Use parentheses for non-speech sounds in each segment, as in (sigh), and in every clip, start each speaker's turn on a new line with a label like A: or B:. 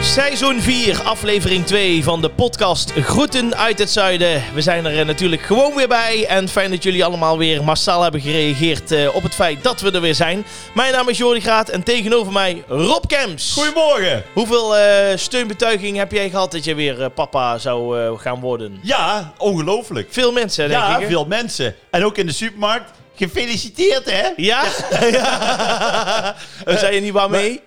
A: seizoen 4, aflevering 2 van de podcast Groeten uit het Zuiden. We zijn er eh, natuurlijk gewoon weer bij. En fijn dat jullie allemaal weer massaal hebben gereageerd eh, op het feit dat we er weer zijn. Mijn naam is Jordi Graat en tegenover mij Rob Kemps.
B: Goedemorgen.
A: Hoeveel eh, steunbetuiging heb jij gehad dat je weer eh, papa zou eh, gaan worden?
B: Ja, ongelooflijk.
A: Veel mensen, denk ik.
B: Ja,
A: hè?
B: veel mensen. En ook in de supermarkt. Gefeliciteerd, hè?
A: Ja? (laughs) Ja. We zijn je niet waar mee?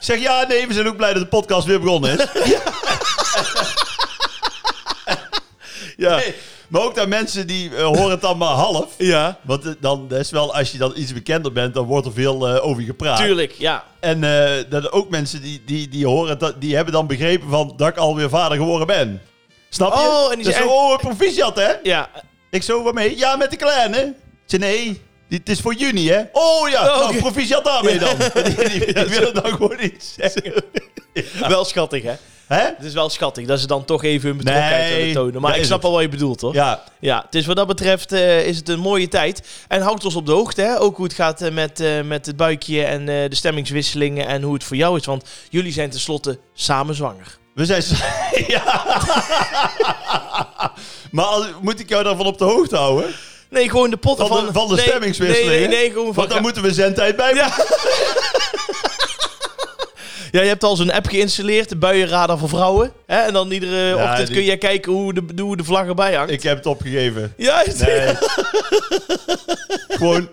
B: Zeg ja, nee, we zijn ook blij dat de podcast weer begonnen is.
A: (laughs)
B: (laughs) ja. Nee, maar ook daar mensen die eh, horen het dan maar half.
A: Ja.
B: Want eh, dan dat is wel, als je dan iets bekender bent, dan wordt er veel eh, over je gepraat.
A: Tuurlijk, ja.
B: En eh, dat er ook mensen die, die, die horen, dat, die hebben dan begrepen van dat ik alweer vader geworden ben. Snap je?
A: Oh, en die
B: dat is
A: zijn-
B: zo, oh, proficiat, hè?
A: Ja.
B: Ik zo, waarmee? Ja, met de kleine. Ik zei, nee, dit het is voor juni, hè? Oh ja,
A: Oh, oké.
B: nou, proficiat daarmee dan.
A: (laughs)
B: die die, die willen dan gewoon iets zeggen.
A: Wel schattig, hè?
B: Hè?
A: Het is wel schattig dat ze dan toch even hun betrokkenheid
B: Nee,
A: willen tonen.
B: dat
A: Maar ik
B: is
A: snap
B: het.
A: al wat je bedoelt, hoor. Ja.
B: Ja,
A: dus wat dat betreft eh, is het een mooie tijd. En houdt ons op de hoogte, hè? Ook hoe het gaat eh, met, eh, met het buikje en eh, de stemmingswisselingen en hoe het voor jou is. Want jullie zijn tenslotte samen zwanger.
B: we zijn... s- (laughs) ja. maar als- moet ik jou daarvan op de hoogte houden?
A: Nee, gewoon de pot
B: Van de, van de
A: nee,
B: stemmingswisselingen?
A: Nee, nee, nee, gewoon van...
B: Want dan moeten we zendtijd bij.
A: Ja. Ja, je hebt al zo'n app geïnstalleerd, de buienradar voor vrouwen. Hè? En dan iedere
B: Ja,
A: ochtend
B: die-
A: kun jij kijken hoe de, hoe de vlag erbij hangt.
B: Ik heb het opgegeven.
A: Ja, het-
B: Nee. gewoon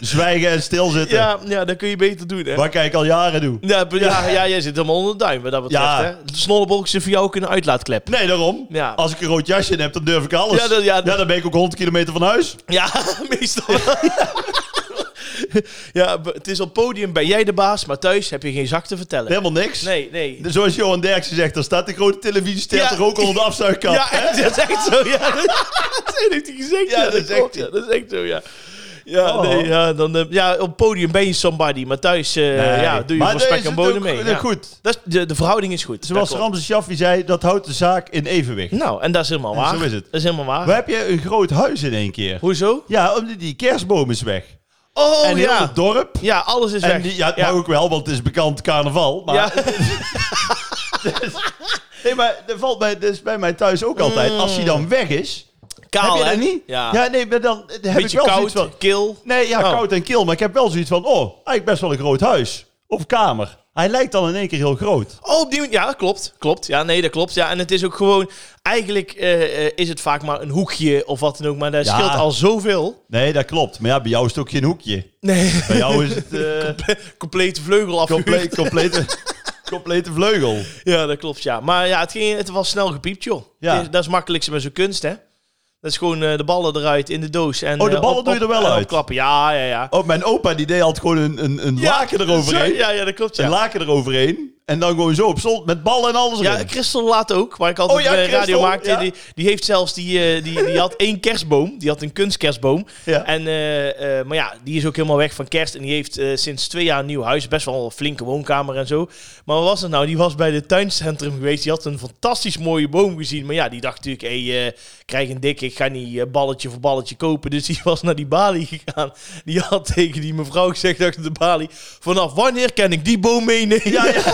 B: zwijgen en stilzitten.
A: ja, ja, dat kun je beter doen, hè.
B: Wat ik al jaren doe.
A: Ja, be- ja, ja, jij zit helemaal onder de duim, wat dat betreft,
B: Ja.
A: hè. De snolleboog is er voor jou ook een uitlaatklep.
B: Nee, daarom.
A: Ja.
B: Als ik een rood jasje in heb, dan durf ik alles.
A: Ja, dat- ja, dat-
B: dan ben ik ook 100 kilometer van huis.
A: Ja,
B: (laughs)
A: meestal wel. Ja, be- het is op podium, ben jij de baas, maar thuis heb je geen zak te vertellen.
B: Helemaal niks.
A: Nee, nee.
B: Zoals Johan Derksen zegt, daar staat de grote televisie
A: Ja.
B: er ook onder de afzuigkap.
A: Ja, echt, (laughs) dat is echt zo,
B: (laughs)
A: ja. Dat heeft hij gezegd.
B: Ja, dat is echt
A: klopt,
B: hij.
A: ja. Dat is echt zo, ja. Ja,
B: Oh.
A: nee, ja, dan, eh, ja, op podium ben je somebody, maar thuis eh,
B: Nee.
A: ja, doe je
B: Maar
A: voor
B: daar
A: spek
B: is
A: en
B: het
A: bodem
B: ook-
A: mee.
B: eh,
A: Ja.
B: Goed.
A: Dat is- de, de verhouding is goed. Dat
B: Zoals
A: klopt.
B: Ramses Shaffi zei, dat houdt de zaak in evenwicht.
A: Nou, en dat is helemaal
B: Ja,
A: waar.
B: zo is het.
A: Dat is helemaal waar.
B: Waar heb je een groot huis in één keer?
A: Hoezo?
B: Ja, omdat die kerstboom is weg.
A: Oh,
B: en heel
A: ja.
B: het dorp.
A: Ja, alles is
B: En
A: weg.
B: die, ja, nou ook wel, want het is bekend carnaval.
A: (laughs)
B: Maar,
A: Ja.
B: nee, maar dat valt bij, dat is bij mij thuis ook altijd. Als hij dan weg is,
A: Kaal,
B: heb je
A: Mm. hè?
B: dat niet?
A: Ja.
B: nee, maar dan heb ik
A: Beetje
B: wel
A: koud,
B: zoiets van...
A: kil.
B: Nee, ja,
A: Oh.
B: koud en kil. Maar ik heb wel zoiets van, oh, eigenlijk best wel een groot huis. Of kamer. Hij lijkt dan in één keer heel groot.
A: Oh, op die manier. Ja, klopt. Klopt. Ja, nee, dat klopt. Ja, en het is ook gewoon... Eigenlijk eh, eh, is het vaak maar een hoekje of wat dan ook, maar dat
B: Ja.
A: scheelt al zoveel.
B: Nee, dat klopt. Maar ja, bij jou is het ook geen
A: (laughs)
B: hoekje.
A: Nee.
B: Bij jou is het (laughs) eh
A: Complete vleugel afgehuurd.
B: comple- complete, complete vleugel.
A: (laughs) Ja, dat klopt, ja. Maar ja, het, ging, het was snel gepiept, joh.
B: Ja.
A: Dat is- Dat is het makkelijkste met zo'n kunst, hè. Dat is gewoon eh, de ballen eruit in de doos. En,
B: Oh, de
A: eh,
B: ballen doe je er wel
A: en
B: uit?
A: Opklappen. Ja, ja, ja.
B: Oh, mijn opa die deed altijd gewoon een, een, een laken eroverheen.
A: Zo, Ja, ja, dat klopt,
B: Een
A: ja.
B: laken eroverheen. En dan gewoon zo op slot met ballen en alles
A: Ja,
B: erin.
A: Christel laat ook, waar ik altijd
B: Oh ja,
A: eh, radio
B: Christel,
A: maakte.
B: ja.
A: Die, die heeft zelfs, die, eh, die, die had één kerstboom. Die had een kunstkerstboom.
B: Ja.
A: En, eh, eh, maar ja, die is ook helemaal weg van kerst. En die heeft eh, sinds twee jaar een nieuw huis. Best wel een flinke woonkamer en zo. Maar wat was het nou? Die was bij het tuincentrum geweest. Die had een fantastisch mooie boom gezien. Maar ja, die dacht natuurlijk, hé, hey, eh, krijg een dik. Ik ga niet eh, balletje voor balletje kopen. Dus die (laughs) was naar die balie gegaan. Die had tegen die mevrouw gezegd achter de balie... Vanaf wanneer kan ik die boom meenemen?
B: Ja, (laughs) ja.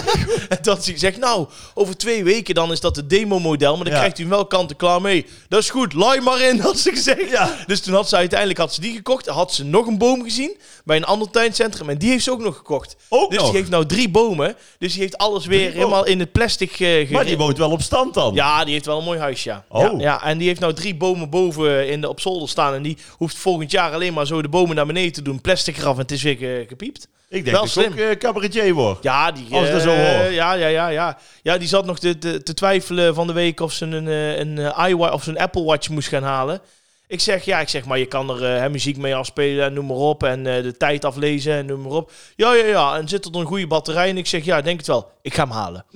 A: En dat ze zegt, nou, over twee weken dan is dat het demo-model. Maar dan
B: Ja.
A: krijgt u hem wel kant-en-klaar mee. Dat is goed, laai maar in, (laughs) had ze gezegd.
B: Ja.
A: Dus toen had ze uiteindelijk had ze die gekocht. Had ze nog een boom gezien bij een ander tuincentrum. En die heeft ze ook nog gekocht.
B: Oh, Ook
A: dus
B: nog?
A: die heeft nou drie bomen. Dus die heeft alles weer
B: bomen.
A: helemaal in het plastic eh ge-
B: Maar die woont wel op stand dan.
A: ja, die heeft wel een mooi huisje, ja.
B: Oh.
A: Ja, ja, En die heeft nou drie bomen boven in de, op zolder staan. En die hoeft volgend jaar alleen maar zo de bomen naar beneden te doen. Plastic eraf en het is weer ge- gepiept.
B: Ik denk
A: Wel
B: dat
A: slim.
B: ik ook eh, cabaretier word.
A: Ja, die,
B: Als ik dat zo
A: eh,
B: hoor.
A: Ja, ja, ja, ja. ja, die zat nog te, te, te twijfelen van de week of ze een, eh, een, eh, iWa- of ze een Apple Watch moest gaan halen. Ik zeg, ja, ik zeg, maar je kan er eh, hè, muziek mee afspelen en noem maar op. En eh, de tijd aflezen en noem maar op. Ja, ja, ja. En zit er dan een goede batterij in? Ik zeg, ja, ik denk het wel. Ik ga hem halen. (laughs)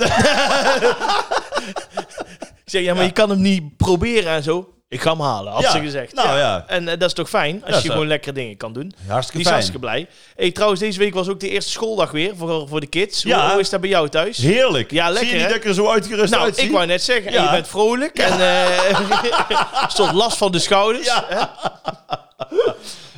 A: ik zeg, ja, maar je kan hem niet proberen en zo. Ik ga hem halen, had
B: Ja,
A: ze gezegd.
B: nou ja.
A: En eh, dat is toch fijn als
B: Ja,
A: je
B: zo.
A: gewoon lekkere dingen kan doen. Die
B: Hartstikke
A: is hartstikke
B: fijn.
A: blij. Hey, trouwens, deze week was ook de eerste schooldag weer voor, voor de kids. Hoe,
B: Ja.
A: hoe is dat bij jou thuis?
B: Heerlijk.
A: Ja, lekker,
B: Zie je niet
A: hè?
B: dat ik er zo uitgerust
A: nou,
B: uitzie?
A: ik wou net zeggen,
B: Ja.
A: je bent vrolijk en (laughs) eh, stond last van de schouders.
B: Ja.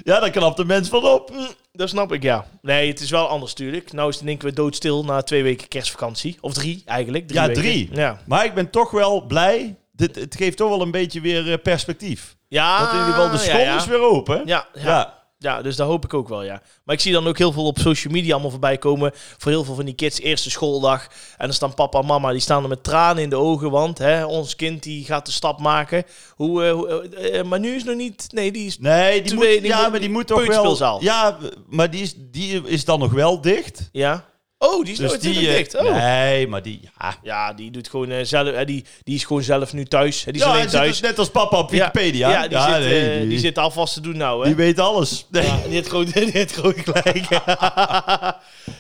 B: Ja, daar knapt de mens van op.
A: Mm, Dat snap ik, ja. Nee, het is wel anders natuurlijk. Nou is het in één keer weer doodstil na twee weken kerstvakantie. Of drie eigenlijk. Drie
B: Ja,
A: weken.
B: drie.
A: Ja,
B: Maar ik ben toch wel blij. Dit, het geeft toch wel een beetje weer eh, perspectief.
A: ja
B: Want in ieder geval, de school
A: Ah, ja, ja.
B: is weer open.
A: Ja, ja.
B: Ja.
A: ja. dus daar hoop ik ook wel, ja. Maar ik zie dan ook heel veel op social media allemaal voorbij komen. Voor heel veel van die kids, eerste schooldag. En dan staan papa en mama, die staan er met tranen in de ogen. Want hè, ons kind die gaat de stap maken. Hoe, eh, hoe- eh, eh, maar nu is nog niet... Nee, die is...
B: Nee, die
A: Toen
B: moet,
A: weet ik
B: ja,
A: nog-
B: maar die moet toch wel...
A: peuterspeelzaal.
B: Ja, maar die is, die is dan nog wel dicht.
A: Ja. Oh, die is
B: Dus
A: nooit
B: die... eh,
A: dicht. Oh.
B: Nee, maar die... Ja,
A: Ja, die doet gewoon eh, zelf... eh, die, die is gewoon zelf nu thuis. Hè, die is
B: ja
A: alleen
B: hij zit
A: thuis.
B: dus net als papa op Wikipedia.
A: Ja, ja, die, zit,
B: nee,
A: eh, die... zit alvast te doen nou, hè.
B: die weet alles. Nee.
A: Ja, die heeft gewoon, (laughs) die heeft gewoon gelijk. (laughs)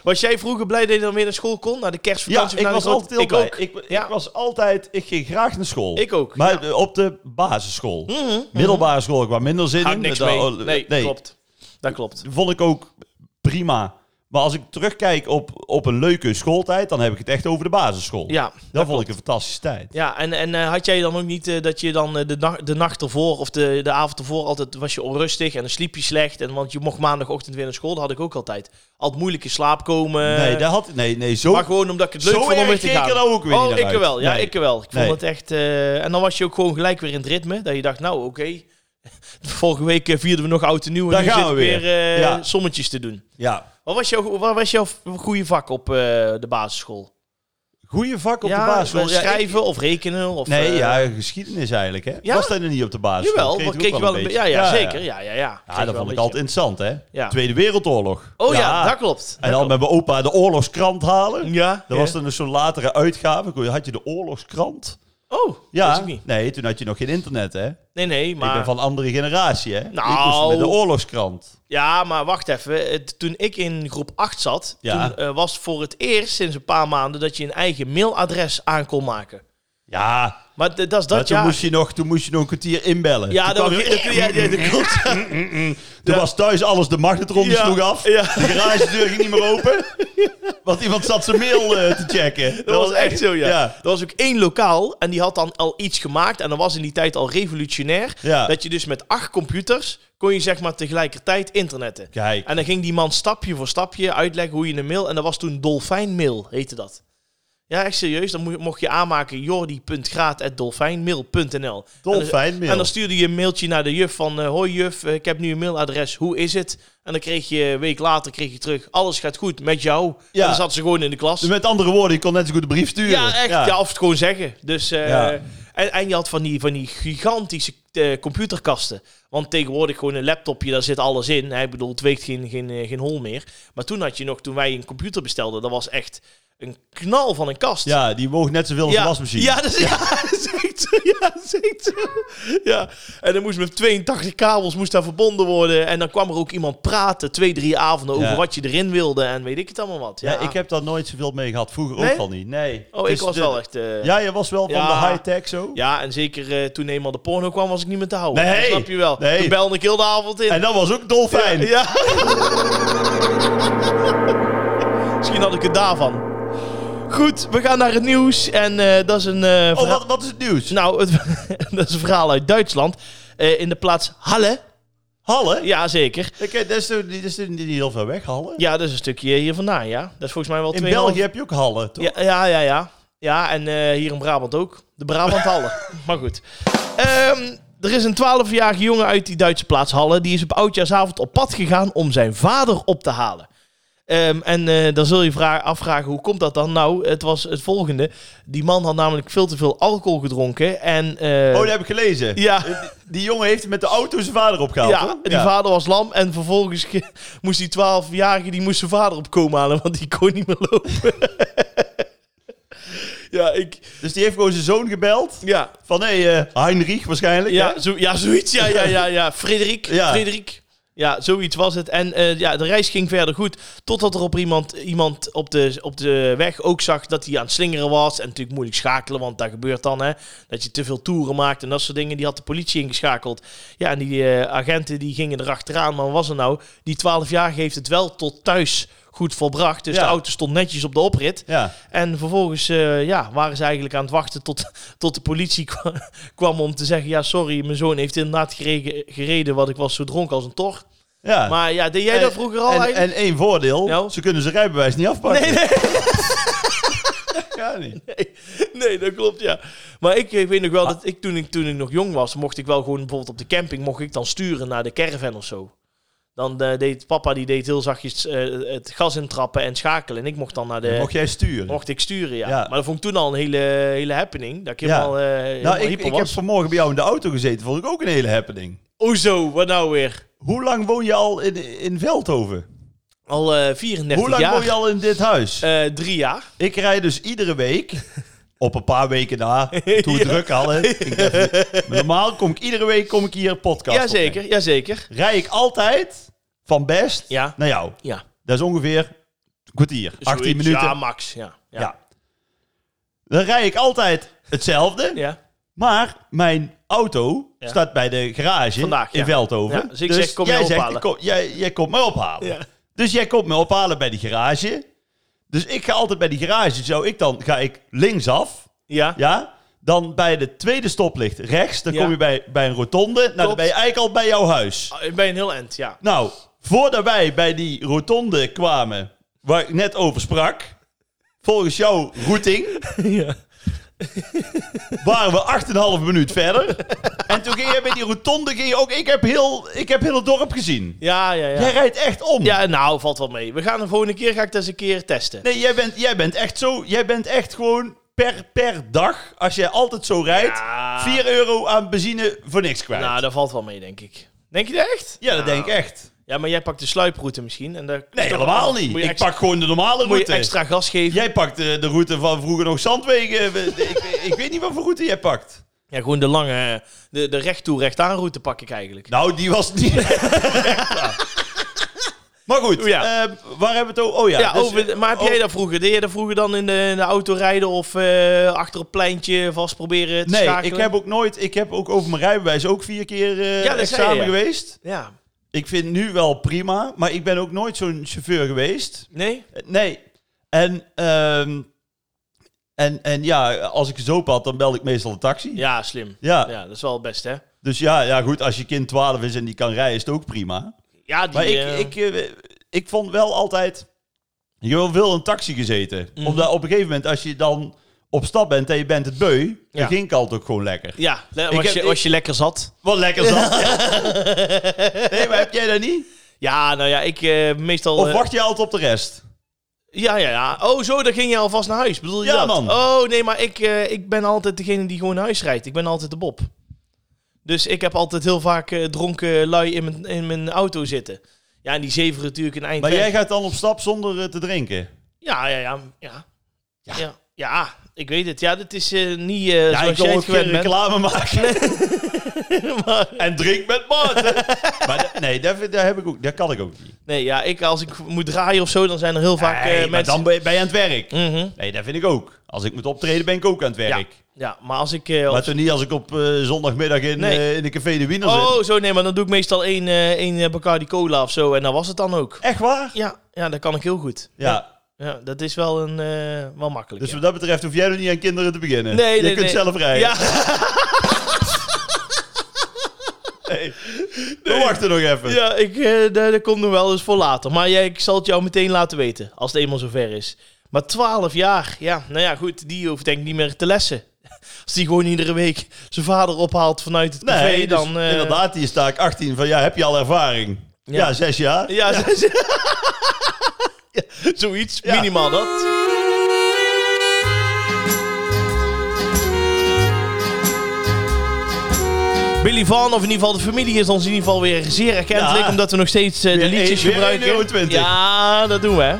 A: was jij vroeger blij dat je dan weer naar school kon? Naar de
B: Ja,
A: kerstvakantie?
B: ik
A: of
B: was
A: naar de
B: altijd heel
A: school?
B: blij.
A: Ik ook.
B: Ik,
A: Ja.
B: ik was altijd... Ik ging graag naar school.
A: Ik ook,
B: Maar eh, op de basisschool.
A: Mhm, mhm.
B: Middelbare school had ik wat minder zin
A: Had ik
B: in.
A: niks
B: Daar-
A: mee.
B: oh,
A: Nee, klopt. Dat klopt.
B: vond ik ook prima. Maar als ik terugkijk op, op een leuke schooltijd, dan heb ik het echt over de basisschool.
A: Ja,
B: dat, vond ik een fantastische tijd.
A: ja en, en eh, had jij dan ook niet eh, dat je dan eh, de, na- de nacht ervoor of de, de avond ervoor altijd was je onrustig en dan sliep je slecht? En, want je mocht maandagochtend weer naar school, dat had ik ook altijd. Altijd moeilijk in slaap komen.
B: nee, dat had, nee, nee, zo.
A: Eh, maar gewoon omdat ik het leuk
B: zo
A: vond om
B: erg
A: weer te
B: keek
A: gaan.
B: er nou ook weer
A: oh,
B: niet
A: ik
B: naar
A: er wel.
B: uit.
A: Ja,
B: Nee.
A: ik er wel. Ik vond
B: Nee.
A: het echt... eh, en dan was je ook gewoon gelijk weer in het ritme. Dat je dacht, nou oké. (laughs) Vorige week eh, vierden we nog oud en nieuw. En
B: Daar
A: nu
B: gaan
A: zit
B: we
A: ik
B: weer.
A: weer eh,
B: Ja.
A: sommetjes te doen.
B: Ja,
A: Wat was jouw, wat was jouw goede vak op eh, de basisschool?
B: goede vak op
A: ja,
B: de basisschool. Ja, ik-
A: Schrijven of rekenen? Of,
B: nee,
A: eh,
B: ja, geschiedenis eigenlijk, hè?
A: Ja?
B: Was dat er niet op de basisschool?
A: Jawel, want kreeg je wel een beetje. Ja, ja, zeker. Ja, ja, ja.
B: Ja,
A: Kreeg je
B: dat
A: wel
B: vond ik
A: een
B: altijd interessant, hè?
A: Ja.
B: Tweede Wereldoorlog.
A: beetje. Oh ja, dat klopt.
B: En
A: Dat
B: dan
A: klopt.
B: met mijn opa de oorlogskrant halen.
A: Ja.
B: Dat
A: ja.
B: was dan dus zo'n latere uitgave. Kon je- Had je de oorlogskrant?
A: Oh, ja.
B: Ja.
A: ik niet.
B: Nee, toen had je nog geen internet, hè?
A: Nee, nee,
B: Ik ben
A: maar...
B: van andere generatie, hè? Ik
A: Nou.
B: moest met de oorlogskrant.
A: Ja, maar wacht even. Het- Toen ik in groep 8 zat,
B: Ja.
A: toen eh, was voor het eerst sinds een paar maanden dat je een eigen mailadres aan kon maken.
B: Ja,
A: Maar d- dat is
B: maar
A: dat
B: toen,
A: ja.
B: moest je nog, toen moest je nog een kwartier inbellen.
A: Ja,
B: toen
A: dat
B: kwam
A: was-
B: je-
A: ja, ja, Mm, dat
B: (laughs)
A: klopt.
B: toen was thuis alles, de magnetron die
A: Ja,
B: sloeg af.
A: ja.
B: De garagedeur ging niet meer open. Want iemand zat zijn mail eh, te checken.
A: (laughs) Dat was echt zo, ja.
B: ja.
A: Er was ook één lokaal en die had dan al iets gemaakt. En dat was in die tijd al revolutionair.
B: Ja.
A: Dat je dus met acht computers kon je zeg maar tegelijkertijd internetten.
B: Kijk,
A: En dan ging die man stapje voor stapje uitleggen hoe je een mail... En dat was toen dolfijnmail, heette dat. Ja, echt serieus. Dan mo- mocht je aanmaken jordi.graat.dolfijnmail.nl
B: dolfijnmail.
A: En dan stuurde je een mailtje naar de juf van... eh, Hoi juf, eh, ik heb nu een mailadres, hoe is het? En dan kreeg je een week later kreeg je terug... Alles gaat goed met jou.
B: Ja.
A: En dan zat ze gewoon in de klas.
B: Dus met andere woorden, je kon net zo goed een brief sturen.
A: Ja, echt. Ja. of het gewoon zeggen. Dus, eh,
B: Ja.
A: en, en je had van die, van die gigantische eh, computerkasten. Want tegenwoordig gewoon een laptopje, daar zit alles in. Hij bedoelt, het weegt geen, geen, eh, geen hol meer. Maar toen had je nog, toen wij een computer bestelden, dat was echt een knal van een kast.
B: Ja, die woog net zoveel als een
A: Ja,
B: wasmachine.
A: Ja, dat is, ja, (laughs) dat is echt zo. Ja, dat is echt zo. Ja. En dan moest met 82 kabels moest daar verbonden worden. En dan kwam er ook iemand praten, twee, drie avonden, over
B: Ja.
A: wat je erin wilde. En weet ik het allemaal wat.
B: Ja,
A: Ja,
B: ik heb daar nooit zoveel mee gehad. Vroeger
A: Nee?
B: ook al niet. Nee.
A: Oh,
B: Dus
A: ik was
B: de-
A: wel echt... eh,
B: Ja, je was wel van
A: Ja.
B: de high-tech zo.
A: Ja, en zeker eh, toen eenmaal de porno kwam, was ik niet meer te houden.
B: Nee.
A: Dat snap je wel.
B: Nee.
A: Toen belde ik heel de avond in.
B: En dat was ook dolfijn.
A: Ja. (laughs) Misschien had ik het daarvan. Goed, we gaan naar het nieuws. En eh, dat is een... eh,
B: Oh,
A: verhaal-
B: wat, wat is het nieuws?
A: Nou, het- (laughs) dat is een verhaal uit Duitsland. Eh, in de plaats Halle.
B: Halle?
A: Jazeker.
B: Oké, dat is, toch- dat is toch niet heel veel weg, Halle.
A: Ja, dat is een stukje hier vandaan, ja. Dat is volgens mij wel
B: In
A: 2,5
B: België heb je ook Halle, toch?
A: Ja, ja, ja. Ja, ja en eh, hier in Brabant ook. De Brabant (laughs) Halle. maar goed. Ehm, er is een 12-jarige jongen uit die Duitse plaats Halle. Die is op oudjaarsavond op pad gegaan om zijn vader op te halen. Ehm, en eh, dan zul je vra- afvragen, hoe komt dat dan? Nou, het was het volgende. Die man had namelijk veel te veel alcohol gedronken. En, eh,
B: Oh, dat heb ik gelezen.
A: ja,
B: Die jongen heeft met de auto zijn vader opgehaald,
A: ja,
B: hoor.
A: die vader was lam. En vervolgens ge- moest die 12-jarige die moest zijn vader op komen halen. Want die kon niet meer lopen. (laughs) ja, ik...
B: Dus die heeft gewoon zijn zoon gebeld.
A: Ja,
B: Van, hé, hey, eh, Heinrich waarschijnlijk,
A: Ja,
B: hè?
A: zo, ja zoiets. Ja, ja, ja, ja. Frederik.
B: Ja.
A: Frederik. Ja, zoiets was het. En eh, ja, de reis ging verder goed. Totdat er op iemand, iemand op, de, op de weg ook zag dat hij aan het slingeren was. En natuurlijk moeilijk schakelen, want dat gebeurt dan. Hè, dat je te veel toeren maakt en dat soort dingen. Die had de politie ingeschakeld. Ja, en die eh, agenten die gingen erachteraan. Maar wat was er nou? Die 12-jarige heeft het wel tot thuis goed volbracht. Dus
B: Ja.
A: de auto stond netjes op de oprit.
B: Ja.
A: En vervolgens eh, ja, waren ze eigenlijk aan het wachten tot, (laughs) tot de politie kwa- kwam om te zeggen... ja, sorry, mijn zoon heeft inderdaad geregen- gereden, wat ik was zo dronken als een tor.
B: Ja.
A: Maar ja, deed jij dat vroeger al
B: en,
A: eigenlijk?
B: en één voordeel,
A: Nou?
B: ze kunnen zijn rijbewijs niet afpakken. (laughs)
A: Nee, nee.
B: Ja, niet.
A: (laughs) Nee, (laughs) nee, dat klopt, ja. Maar ik, ik weet nog
B: Ah.
A: wel dat ik toen, ik toen ik nog jong was, mocht ik wel gewoon bijvoorbeeld op de camping, mocht ik dan sturen naar de caravan of zo. Dan eh, deed papa, die deed heel zachtjes eh, het gas intrappen en schakelen. En ik mocht dan naar de...
B: Mocht jij sturen?
A: Mocht ik sturen, ja.
B: Ja.
A: Maar dat vond ik toen al een hele, hele happening. Dat ik
B: Ja.
A: helemaal, eh helemaal
B: nou, ik,
A: hyper
B: ik heb
A: was.
B: vanmorgen bij jou in de auto gezeten. Vond ik ook een hele happening.
A: Oh zo, wat nou weer?
B: Hoe lang woon je al in, in Veldhoven?
A: Al eh 34
B: Hoe lang
A: jaar.
B: woon je al in dit huis?
A: Eh, drie jaar.
B: Ik rij dus iedere
A: (laughs)
B: week, op een paar weken na, toen we het
A: Ja.
B: druk hadden.
A: (laughs)
B: Ik dacht, normaal kom ik iedere week kom ik hier een podcast
A: Jazeker, jazeker.
B: opnemen. Rij ik altijd van Best
A: Ja,
B: naar jou.
A: ja.
B: Dat is ongeveer een kwartier, 18
A: Zoiets,
B: minuten.
A: Ja, max. Ja, ja. ja.
B: Ja. Dan rij ik altijd hetzelfde. Maar mijn auto
A: Ja.
B: staat bij de garage
A: Vandaag,
B: in
A: ja.
B: Veldhoven.
A: Ja, dus ik zeg, kom je
B: jij
A: ophalen.
B: ik kom- jij, jij komt me ophalen.
A: Ja.
B: Dus jij komt me ophalen bij die garage. Dus ik ga altijd bij die garage. Zo, ik dan ga ik linksaf.
A: Ja.
B: Ja. Dan bij de tweede stoplicht rechts. Dan
A: Ja.
B: kom je bij, bij een rotonde. Nou, dan
A: Klopt.
B: ben je eigenlijk al bij jouw huis.
A: Ah, Ik ben een heel end, ja.
B: Nou, voordat wij bij die rotonde kwamen, waar ik net over sprak, volgens jouw routing,
A: (laughs) ja.
B: waren we 8,5 minuut verder. En toen ging jij bij die rotonde, ging je ook, ik heb heel, ik heb heel het dorp gezien.
A: Ja, ja, ja.
B: Jij rijdt echt om.
A: Ja, nou, valt wel mee. We gaan de volgende keer, ga ik dat eens een keer testen.
B: Nee, jij bent, jij bent echt zo, jij bent echt gewoon per, per dag, als jij altijd zo rijdt,
A: Ja.
B: 4 euro aan benzine voor niks kwijt.
A: Nou, dat valt wel mee, denk ik. Denk je dat echt?
B: ja, dat
A: Nou.
B: denk ik echt.
A: Ja, maar jij pakt de sluiproute misschien. En daar
B: Nee, helemaal niet.
A: Moet je
B: Ik
A: extra,
B: pak gewoon de normale
A: moet je
B: route.
A: extra gas geven.
B: Jij pakt de, de route van vroeger nog Zandwegen. We- de- ik, ik weet niet wat voor route jij pakt.
A: Ja, gewoon de lange, eh, de, de recht toe, recht aan route pak ik eigenlijk.
B: Nou, die was niet. (laughs) maar goed,
A: Oh ja.
B: eh, waar hebben we het over? Oh ja,
A: Ja,
B: dus,
A: over de- maar heb
B: oh,
A: jij dat vroeger? Deed jij dat vroeger dan in de, in de auto rijden of eh, achter een pleintje vast proberen te
B: eh, Nee,
A: schakelen?
B: ik heb ook nooit. Ik heb ook over mijn rijbewijs ook vier keer eh
A: Ja, dat
B: examen
A: zei je, ja.
B: geweest.
A: Ja.
B: Ik vind nu wel prima, maar ik ben ook nooit zo'n chauffeur geweest.
A: Nee?
B: Eh, Nee. En, ehm, en, en ja, als ik zo had, dan bel ik meestal een taxi.
A: Ja, slim.
B: Ja,
A: Ja, dat is wel best, hè?
B: dus ja, ja, goed, als je kind 12 is en die kan rijden, is het ook prima.
A: Ja, die...
B: Maar
A: eh,
B: ik, ik, eh, ik vond wel altijd... Je wil wel een taxi gezeten.
A: Mhm.
B: Omdat op een gegeven moment, als je dan op stap bent en je bent het beu...
A: Ja.
B: dan ging ik altijd ook gewoon lekker.
A: ja, le-
B: ik
A: was,
B: heb-
A: je,
B: ik-
A: was je lekker zat?
B: Wat lekker zat. (laughs) nee, maar heb jij dat niet?
A: Ja, nou ja, ik eh, meestal...
B: Of
A: eh,
B: wacht je altijd op de rest?
A: Ja, ja, ja. Oh, zo, dan ging je alvast naar huis. Bedoel je dat?
B: Ja, man.
A: Oh, nee, maar ik, eh, ik ben altijd degene die gewoon naar huis rijdt. Ik ben altijd de Bob. Dus ik heb altijd heel vaak eh, dronken lui in mijn, in mijn auto zitten. Ja, en die zeven natuurlijk een eind
B: Maar
A: weg.
B: jij gaat dan op stap zonder eh, te drinken.
A: Ja, ja, ja. Ja. Ja. ja. ik weet het. Ja, dat is eh, niet eh
B: Ja,
A: zoals
B: ik wil
A: jij het
B: ook geen
A: gewend bent.
B: reclame (laughs) maken.
A: (laughs) Maar-
B: en drink met maat. hè. maar dat- nee, dat, vind- dat, heb ik ook, dat kan ik ook niet.
A: nee, ja, ik, als ik moet draaien of zo, dan zijn er heel vaak eh,
B: nee, maar
A: mensen...
B: dan ben je ben je aan het werk.
A: Mhm.
B: Nee, dat vind ik ook. Als ik moet optreden, ben ik ook aan het werk.
A: Ja, maar als ik... eh,
B: Maar
A: op-
B: toch niet als ik op eh, zondagmiddag in,
A: Nee.
B: eh, in de Café de Wiener zit.
A: Oh, zo, nee, maar dan doe ik meestal één, eh, één eh, Bacardi Cola of zo. En dan was het dan ook.
B: Echt waar?
A: Ja, ja, dat kan ik heel goed.
B: Ja.
A: Ja, dat is wel, een, eh, wel makkelijk.
B: Dus
A: ja.
B: wat dat betreft hoef jij nog niet aan kinderen te beginnen.
A: Nee,
B: Je
A: nee,
B: kunt
A: nee.
B: zelf rijden.
A: Ja.
B: Nee. We wachten nog even.
A: Ja, ik, eh, dat, dat komt nog wel eens voor later. Maar jij, ik zal het jou meteen laten weten, als het eenmaal zover is. Maar 12 jaar, ja, nou ja, goed, die hoeft denk ik niet meer te lessen. (laughs) Als die gewoon iedere week zijn vader ophaalt vanuit het café,
B: Nee, dus
A: dan... eh,
B: inderdaad, hier sta ik 18 van, ja, heb je al ervaring? Ja,
A: Ja.
B: zes jaar.
A: Ja, (laughs) ja, zoiets,
B: Ja.
A: minimaal dat. Billy Van, of in ieder geval de familie, is ons in ieder geval weer zeer erkentelijk.
B: Ja.
A: Omdat we nog steeds eh, de
B: Weer
A: liedjes
B: één- weer
A: gebruiken.
B: 1,20.
A: Ja, dat doen we. hè.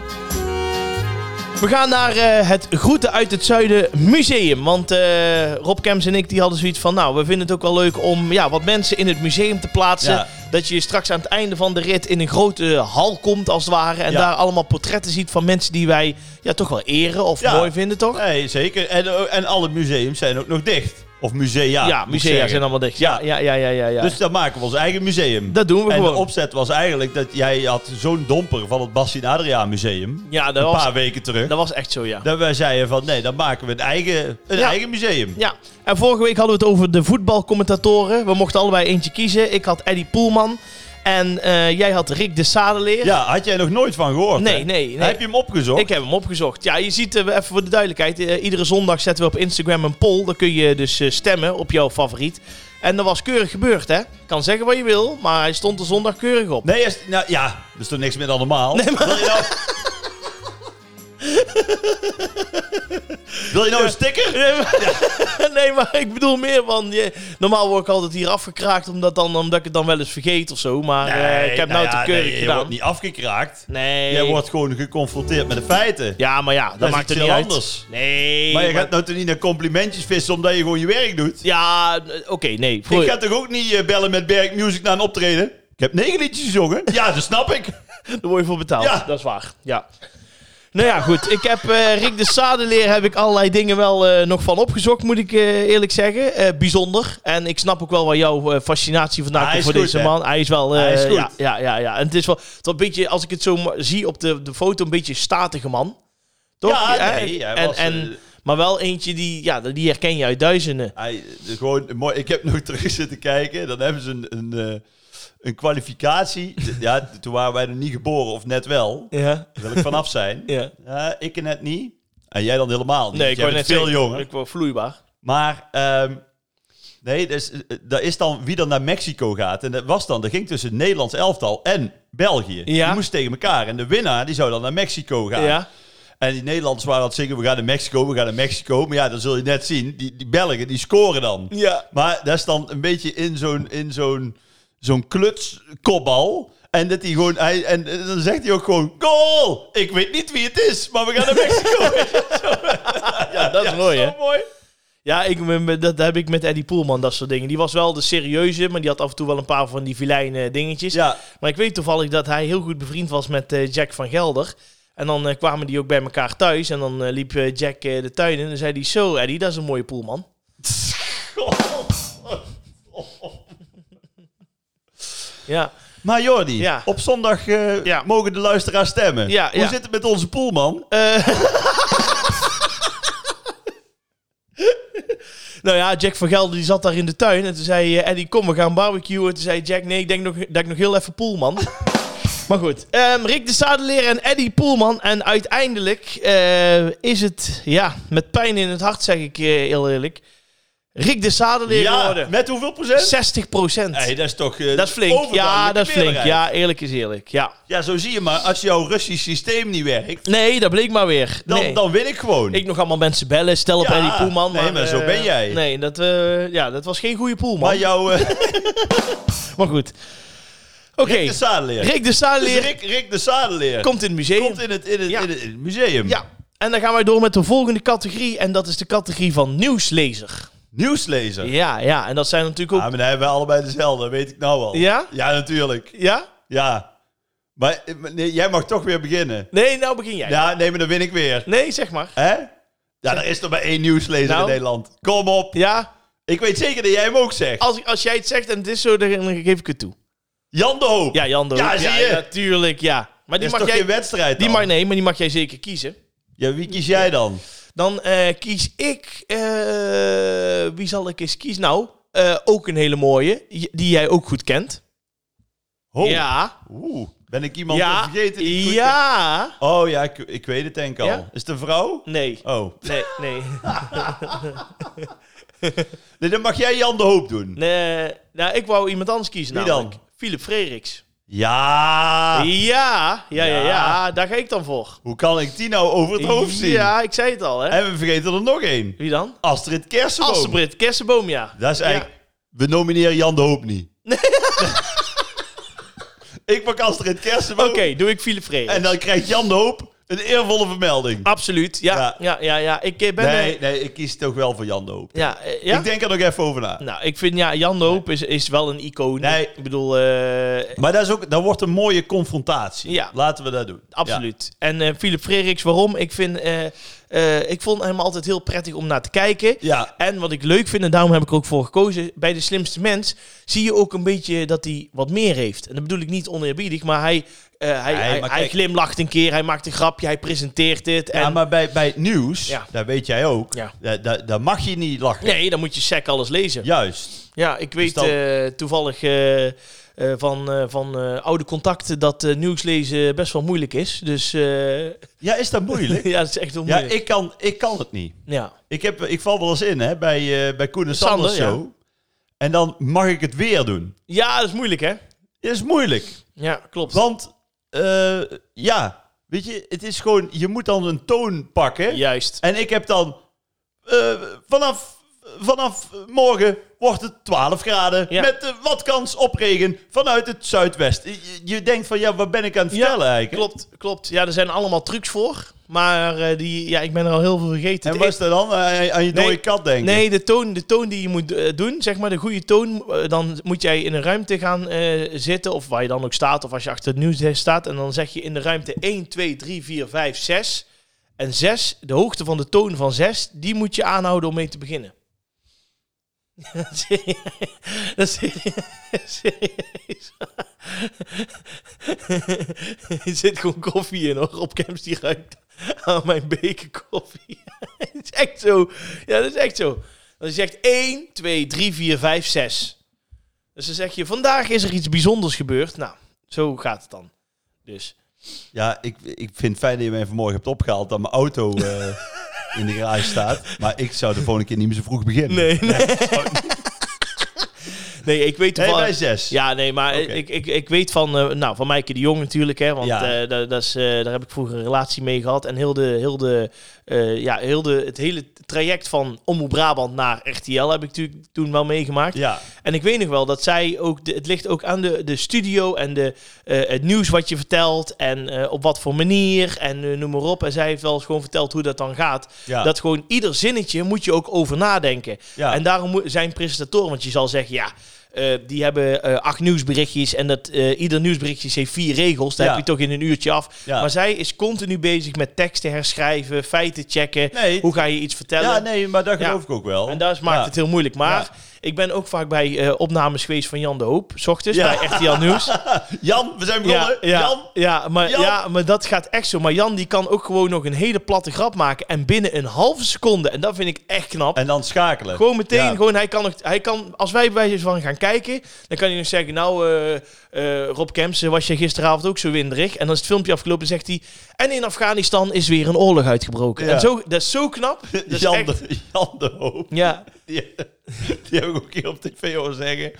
A: We gaan naar eh, het Groeten uit het Zuiden Museum. Want eh, Rob Kems en ik die hadden zoiets van... Nou, we vinden het ook wel leuk om ja, wat mensen in het museum te plaatsen.
B: Ja.
A: Dat je straks aan het einde van de rit in een grote hal komt als het ware. En
B: Ja.
A: daar allemaal portretten ziet van mensen die wij ja, toch wel eren of
B: Ja.
A: mooi vinden, toch?
B: Nee, zeker. En, eh, en alle museums zijn ook nog dicht. Of musea.
A: Ja,
B: moet ik
A: musea
B: zeggen.
A: zijn allemaal dicht. Ja, ja, ja, ja, ja. ja.
B: Dus dan maken we ons eigen museum.
A: dat doen we
B: en de
A: gewoon.
B: opzet was eigenlijk dat jij had zo'n domper van het Bastien Adriaan Museum.
A: ja,
B: Een
A: dat was,
B: paar weken terug.
A: dat was echt zo, ja.
B: Dat wij zeiden van nee, dan maken we een eigen, een
A: Ja.
B: eigen museum.
A: Ja, en vorige week hadden we het over de voetbalcommentatoren. We mochten allebei eentje kiezen. Ik had Eddie Poelman. En eh, jij had Rick de Sadeleer.
B: (laughs) Ja, had jij nog nooit van gehoord?
A: Nee,
B: hè?
A: nee, nee.
B: Heb je hem opgezocht?
A: Ik heb hem opgezocht. Ja, je ziet, eh, even voor de duidelijkheid, eh, iedere zondag zetten we op Instagram een poll. Dan kun je dus eh, stemmen op jouw favoriet. En dat was keurig gebeurd, hè? Kan zeggen wat je wil, maar hij stond er zondag keurig op.
B: Nee, is, nou ja, er is toch niks meer dan normaal. Wil je
A: (laughs)
B: nou... Wil je nou een sticker?
A: (laughs) Nee, maar, nee, maar ik bedoel meer van... Je, normaal word ik altijd hier afgekraakt omdat, dan, omdat ik het dan wel eens vergeet of zo. Maar eh, ik heb nou,
B: ja,
A: te keurig
B: nee, Je
A: gedaan.
B: wordt niet afgekraakt.
A: Nee.
B: Jij wordt gewoon geconfronteerd met de feiten.
A: Ja, maar ja, dat,
B: Dat is
A: maakt
B: iets
A: het niet
B: heel
A: uit.
B: anders.
A: Nee.
B: maar je gaat nou toch niet naar complimentjes vissen omdat je gewoon je werk doet?
A: Ja, eh, oké, nee.
B: Ik ga toch ook niet eh, bellen met Berg Music na een optreden? Ik heb negen liedjes gezongen. Ja, dat snap ik.
A: Daar word je voor betaald.
B: Ja.
A: Dat is waar. Ja. Nou ja, goed. Ik heb eh, Rick de Sadeleer heb ik allerlei dingen wel eh, nog van opgezocht, moet ik eh, eerlijk zeggen. Eh, bijzonder. En ik snap ook wel waar jouw eh, fascinatie vandaan
B: Hij
A: komt
B: is
A: voor
B: goed,
A: deze
B: hè?
A: man. Hij is wel... eh,
B: Hij is goed.
A: Ja, ja, ja, ja. En het is wel, het is wel een beetje, als ik het zo ma- zie op de, de foto, een beetje een statige man. Toch?
B: Ja,
A: Hè?
B: nee, hij
A: en,
B: was,
A: en,
B: eh,
A: maar wel eentje die, ja, die herken je uit duizenden.
B: Hij, eh, gewoon, mooi, ik heb nog (laughs) terug zitten kijken. Dan hebben ze een, een, eh, een kwalificatie. Ja, toen waren wij nog niet geboren, of net wel.
A: Ja.
B: Daar wil ik vanaf zijn.
A: ja.
B: Ja, ik en net niet. En jij dan helemaal niet.
A: Nee, ik
B: Jij
A: word
B: bent
A: net
B: veel
A: zeggen,
B: jonger.
A: Ik word vloeibaar.
B: Maar ehm, nee, dus, eh, dat is dan wie dan naar Mexico gaat. En dat was dan, dat ging tussen het Nederlands elftal en België.
A: Ja.
B: Die moesten tegen elkaar. En de winnaar, die zou dan naar Mexico gaan.
A: ja.
B: En die Nederlanders waren aan het zingen, we gaan naar Mexico, we gaan naar Mexico. Maar ja, dan zul je net zien, die, die Belgen, die scoren dan.
A: Ja.
B: Maar dat is dan een beetje in zo'n, in zo'n, zo'n kluts kopbal. En, dat hij gewoon, hij, en eh, dan zegt hij ook gewoon, goal! Ik weet niet wie het is, maar we gaan naar Mexico.
A: ja, dat is (laughs) mooi, hè?
B: Zo (laughs) mooi.
A: Ja, ik, me- me- dat heb ik met Eddie Poelman, dat soort dingen. Die was wel de serieuze, maar die had af en toe wel een paar van die vilijne dingetjes.
B: Ja,
A: Maar ik weet toevallig dat hij heel goed bevriend was met eh, Jack van Gelder. En dan eh, kwamen die ook bij elkaar thuis. En dan eh, liep eh, Jack eh, de tuin in en zei hij... Zo, Eddie, dat is een mooie poelman. Ja,
B: Maar Jordi,
A: Ja.
B: op zondag eh,
A: Ja.
B: mogen de luisteraars stemmen.
A: Ja,
B: Hoe
A: ja. Eh,
B: zit het met onze poolman?
A: nou ja, Jack van Gelder die zat daar in de tuin. En toen zei eh, Eddie, kom, we gaan barbecuen. En toen zei Jack, nee, ik denk nog, dat ik nog heel even
B: (laughs)
A: poelman. maar goed, ehm, Rick de Sadeleer en Eddie Poelman. En uiteindelijk eh, is het, ja, met pijn in het hart zeg ik eh, heel eerlijk... Rick de Sadeleer geworden.
B: met hoeveel procent?
A: 60 procent.
B: Hey, dat is toch... eh,
A: dat is flink. Ja,
B: overduidelijke
A: dat is flink. Ja,
B: meerderheid.
A: eerlijk is eerlijk. Ja.
B: Ja, zo zie je maar. Als jouw Russisch systeem niet werkt,
A: Nee, dat bleek maar weer.
B: dan,
A: nee.
B: dan win ik gewoon.
A: Ik nog allemaal mensen bellen, stel op
B: Ja,
A: Eddie Poelman.
B: nee, maar zo
A: eh,
B: ben jij.
A: Nee, dat, eh, ja, dat was geen goede Poelman.
B: maar
A: Maar,
B: jouw eh,
A: goed. Oké,
B: Rick de Sadeleer.
A: Rick de
B: Dus
A: Sadeleer
B: Rick, Rick de Sadeleer.
A: komt in het museum.
B: Komt in het, in het,
A: Ja.
B: in het, in het museum.
A: Ja, en dan gaan wij door met de volgende categorie. En dat is de categorie van nieuwslezer.
B: Nieuwslezer.
A: Ja,
B: Ja.
A: ja, en dat zijn natuurlijk ook...
B: maar dan hebben we allebei dezelfde, weet ik nou al.
A: Ja?
B: Ja, natuurlijk.
A: ja?
B: Ja. Maar eh, maar nee, jij mag toch weer beginnen.
A: Nee, nou begin jij.
B: Ja, nee, maar dan win ik weer.
A: Nee, zeg maar.
B: Hè? Ja, er is nog maar één nieuwslezer
A: Nou?
B: in Nederland. Kom op.
A: Ja,
B: Ik weet zeker dat jij hem ook zegt.
A: als, ik- als jij het zegt en het is zo, dan dan geef ik het toe.
B: Jan de Hoop.
A: Ja, Jan de
B: Ja,
A: Hoek.
B: zie je.
A: natuurlijk, ja. Maar
B: dat
A: die
B: is
A: mag
B: toch geen
A: jij...
B: wedstrijd
A: Die
B: dan?
A: mag, nee, maar die mag jij zeker kiezen.
B: Ja, wie kies jij dan?
A: Dan eh, kies ik. eh, wie zal ik eens kiezen? Nou, eh, ook een hele mooie. j- Die jij ook goed kent.
B: Ho.
A: Ja.
B: Oeh, ben ik iemand
A: ja.
B: vergeten? Die ik goed
A: ja.
B: ken? Oh ja, ik, ik weet het denk ik al.
A: Ja?
B: Is het een vrouw?
A: Nee.
B: Oh.
A: Nee, nee.
B: Nee, dan mag jij Jan de Hoop doen.
A: nee. Nou, ik wou iemand anders kiezen.
B: Wie dan?
A: namelijk. Philip Frederiks.
B: Ja.
A: Ja, ja, ja,
B: Ja.
A: ja. Daar ga ik dan voor.
B: Hoe kan ik die nou over het hoofd zien?
A: Ja, ik zei het al, hè.
B: En we vergeten er nog één.
A: Wie dan?
B: Astrid Kersenboom.
A: Assenbrit, Kersenboom, ja.
B: Dat is
A: Ja.
B: eigenlijk... We nomineren Jan de Hoop niet. (laughs) ik pak Astrid Kersenboom.
A: Oké, doe ik Philip Frederiks.
B: En dan krijgt Jan de Hoop een eervolle vermelding.
A: Absoluut, ja. Ja,
B: Ja.
A: ja, ja. Ik eh, ben...
B: nee,
A: eh,
B: nee, ik kies toch wel voor Jan de Hoop.
A: ja, eh, ja?
B: Ik denk er nog even over na.
A: Nou, ik vind ja, Jan de Hoop is, is wel een icoon.
B: Nee.
A: Ik bedoel, eh,
B: Maar dat, is ook, dat wordt een mooie confrontatie.
A: Ja.
B: Laten we dat doen.
A: absoluut. En eh, Philip Frederiks, waarom? Ik, vind, eh, eh, ik vond hem altijd heel prettig om naar te kijken.
B: Ja.
A: En wat ik leuk vind, en daarom heb ik er ook voor gekozen, bij de slimste mens zie je ook een beetje dat hij wat meer heeft. En dat bedoel ik niet oneerbiedig, maar hij, eh, hij,
B: maar
A: hij,
B: kijk-
A: hij glimlacht een keer, hij maakt een grapje, hij presenteert dit.
B: Ja,
A: En,
B: ja maar bij, bij het nieuws,
A: Ja.
B: daar weet jij ook,
A: Ja.
B: da- da- daar mag je niet lachen.
A: Nee, dan moet je sec alles lezen.
B: Juist.
A: Ja, ik weet
B: Dus dan-
A: eh, toevallig eh, eh, van, eh, van eh, oude contacten dat eh, nieuwslezen best wel moeilijk is. Dus eh, (laughs)
B: Ja, is dat moeilijk?
A: ja, dat is echt wel
B: ja,
A: moeilijk. Ja,
B: ik kan, ik kan het niet. Ik, heb, ik val wel eens in hè, bij, eh, bij Koen en
A: Sander,
B: Sander, zo. En dan mag ik het weer doen.
A: Ja, dat is moeilijk, hè?
B: Dat is moeilijk.
A: Ja, klopt.
B: Want, eh, ja, weet je, het is gewoon, je moet dan een toon pakken.
A: Juist.
B: En ik heb dan, eh, vanaf, vanaf morgen wordt het 12 graden
A: Ja.
B: met eh, wat kans op regen vanuit het zuidwesten. Je, je denkt van, ja, wat ben ik aan het vertellen eigenlijk?
A: Klopt, klopt. Ja, er zijn allemaal trucs voor. Maar eh, die, ja, ik ben er al heel veel vergeten.
B: En wat is dat dan? Aan aan je
A: Nee.
B: dode kat denken?
A: Nee, de toon, de toon die je moet eh, doen, zeg maar de goede toon, eh, dan moet jij in een ruimte gaan eh, zitten, of waar je dan ook staat, of als je achter het nieuws staat, en dan zeg je in de ruimte 1, 2, 3, 4, 5, 6. En 6, de hoogte van de toon van 6, die moet je aanhouden om mee te beginnen. (laughs) Dat is (laughs) serieus. Er zit gewoon koffie in hoor. Rob Kemps die ruikt aan mijn beker koffie. (laughs) Het is echt zo. Ja, dat is echt zo. Dan is echt 1, 2, 3, 4, 5, 6. Dus dan zeg je, vandaag is er iets bijzonders gebeurd. Nou, zo gaat het dan. Dus.
B: Ja, ik, ik vind het fijn dat je mij vanmorgen hebt opgehaald dat mijn auto
A: (laughs)
B: eh, in de garage staat. Maar ik zou de volgende keer niet meer zo vroeg beginnen.
A: Nee, nee. Nee, ik weet
B: Hey,
A: toevallig-
B: bij zes.
A: Ja, nee, maar
B: Oké.
A: ik, ik, ik weet van, eh, nou, van Maaike de Jong natuurlijk, hè, want
B: Ja.
A: eh, da- dat is, eh, daar heb ik vroeger een relatie mee gehad. En heel, de, heel, de, eh, ja, heel de, het hele traject van Omroep Brabant naar RTL heb ik natuurlijk toen wel meegemaakt.
B: Ja,
A: En ik weet nog wel dat zij ook, de- het ligt ook aan de, de studio en de, eh, het nieuws wat je vertelt en eh, op wat voor manier en eh, noem maar op. En zij heeft wel eens gewoon verteld hoe dat dan gaat.
B: ja.
A: Dat gewoon ieder zinnetje moet je ook over nadenken.
B: ja.
A: En daarom moet- zijn presentatoren, want je zal zeggen, ja, eh, die hebben eh, acht nieuwsberichtjes en dat, eh, ieder nieuwsberichtje heeft vier regels. Daar
B: Ja.
A: heb je toch in een uurtje af.
B: Ja.
A: Maar zij is continu bezig met teksten herschrijven, feiten checken.
B: nee,
A: Hoe ga je iets vertellen?
B: ja, nee, maar dat
A: Ja.
B: geloof ik ook wel.
A: En dat is- maakt
B: Ja.
A: het heel moeilijk. Maar
B: Ja.
A: ik ben ook vaak bij eh, opnames geweest van Jan de Hoop, s ochtends,
B: Ja.
A: bij RTL
B: (laughs)
A: Nieuws.
B: Jan, we zijn begonnen.
A: ja,
B: Jan.
A: ja, maar,
B: Jan.
A: ja, maar dat gaat echt zo. Maar Jan die kan ook gewoon nog een hele platte grap maken en binnen een halve seconde. En dat vind ik echt knap.
B: En dan schakelen.
A: Gewoon meteen,
B: Ja. (laughs)
A: gewoon, hij kan nog, hij kan, als wij bij van gaan kijken, dan kan hij nog zeggen, nou eh, eh, Rob Kemsen was je gisteravond ook zo winderig. En dan is het filmpje afgelopen en zegt hij, en in Afghanistan is weer een oorlog uitgebroken.
B: Ja.
A: En zo, dat is zo knap.
B: (laughs)
A: Dat is
B: Jan,
A: echt-
B: de, Jan de Hoop. (laughs)
A: ja,
B: Die, die heb ik ook een keer op tv horen zeggen.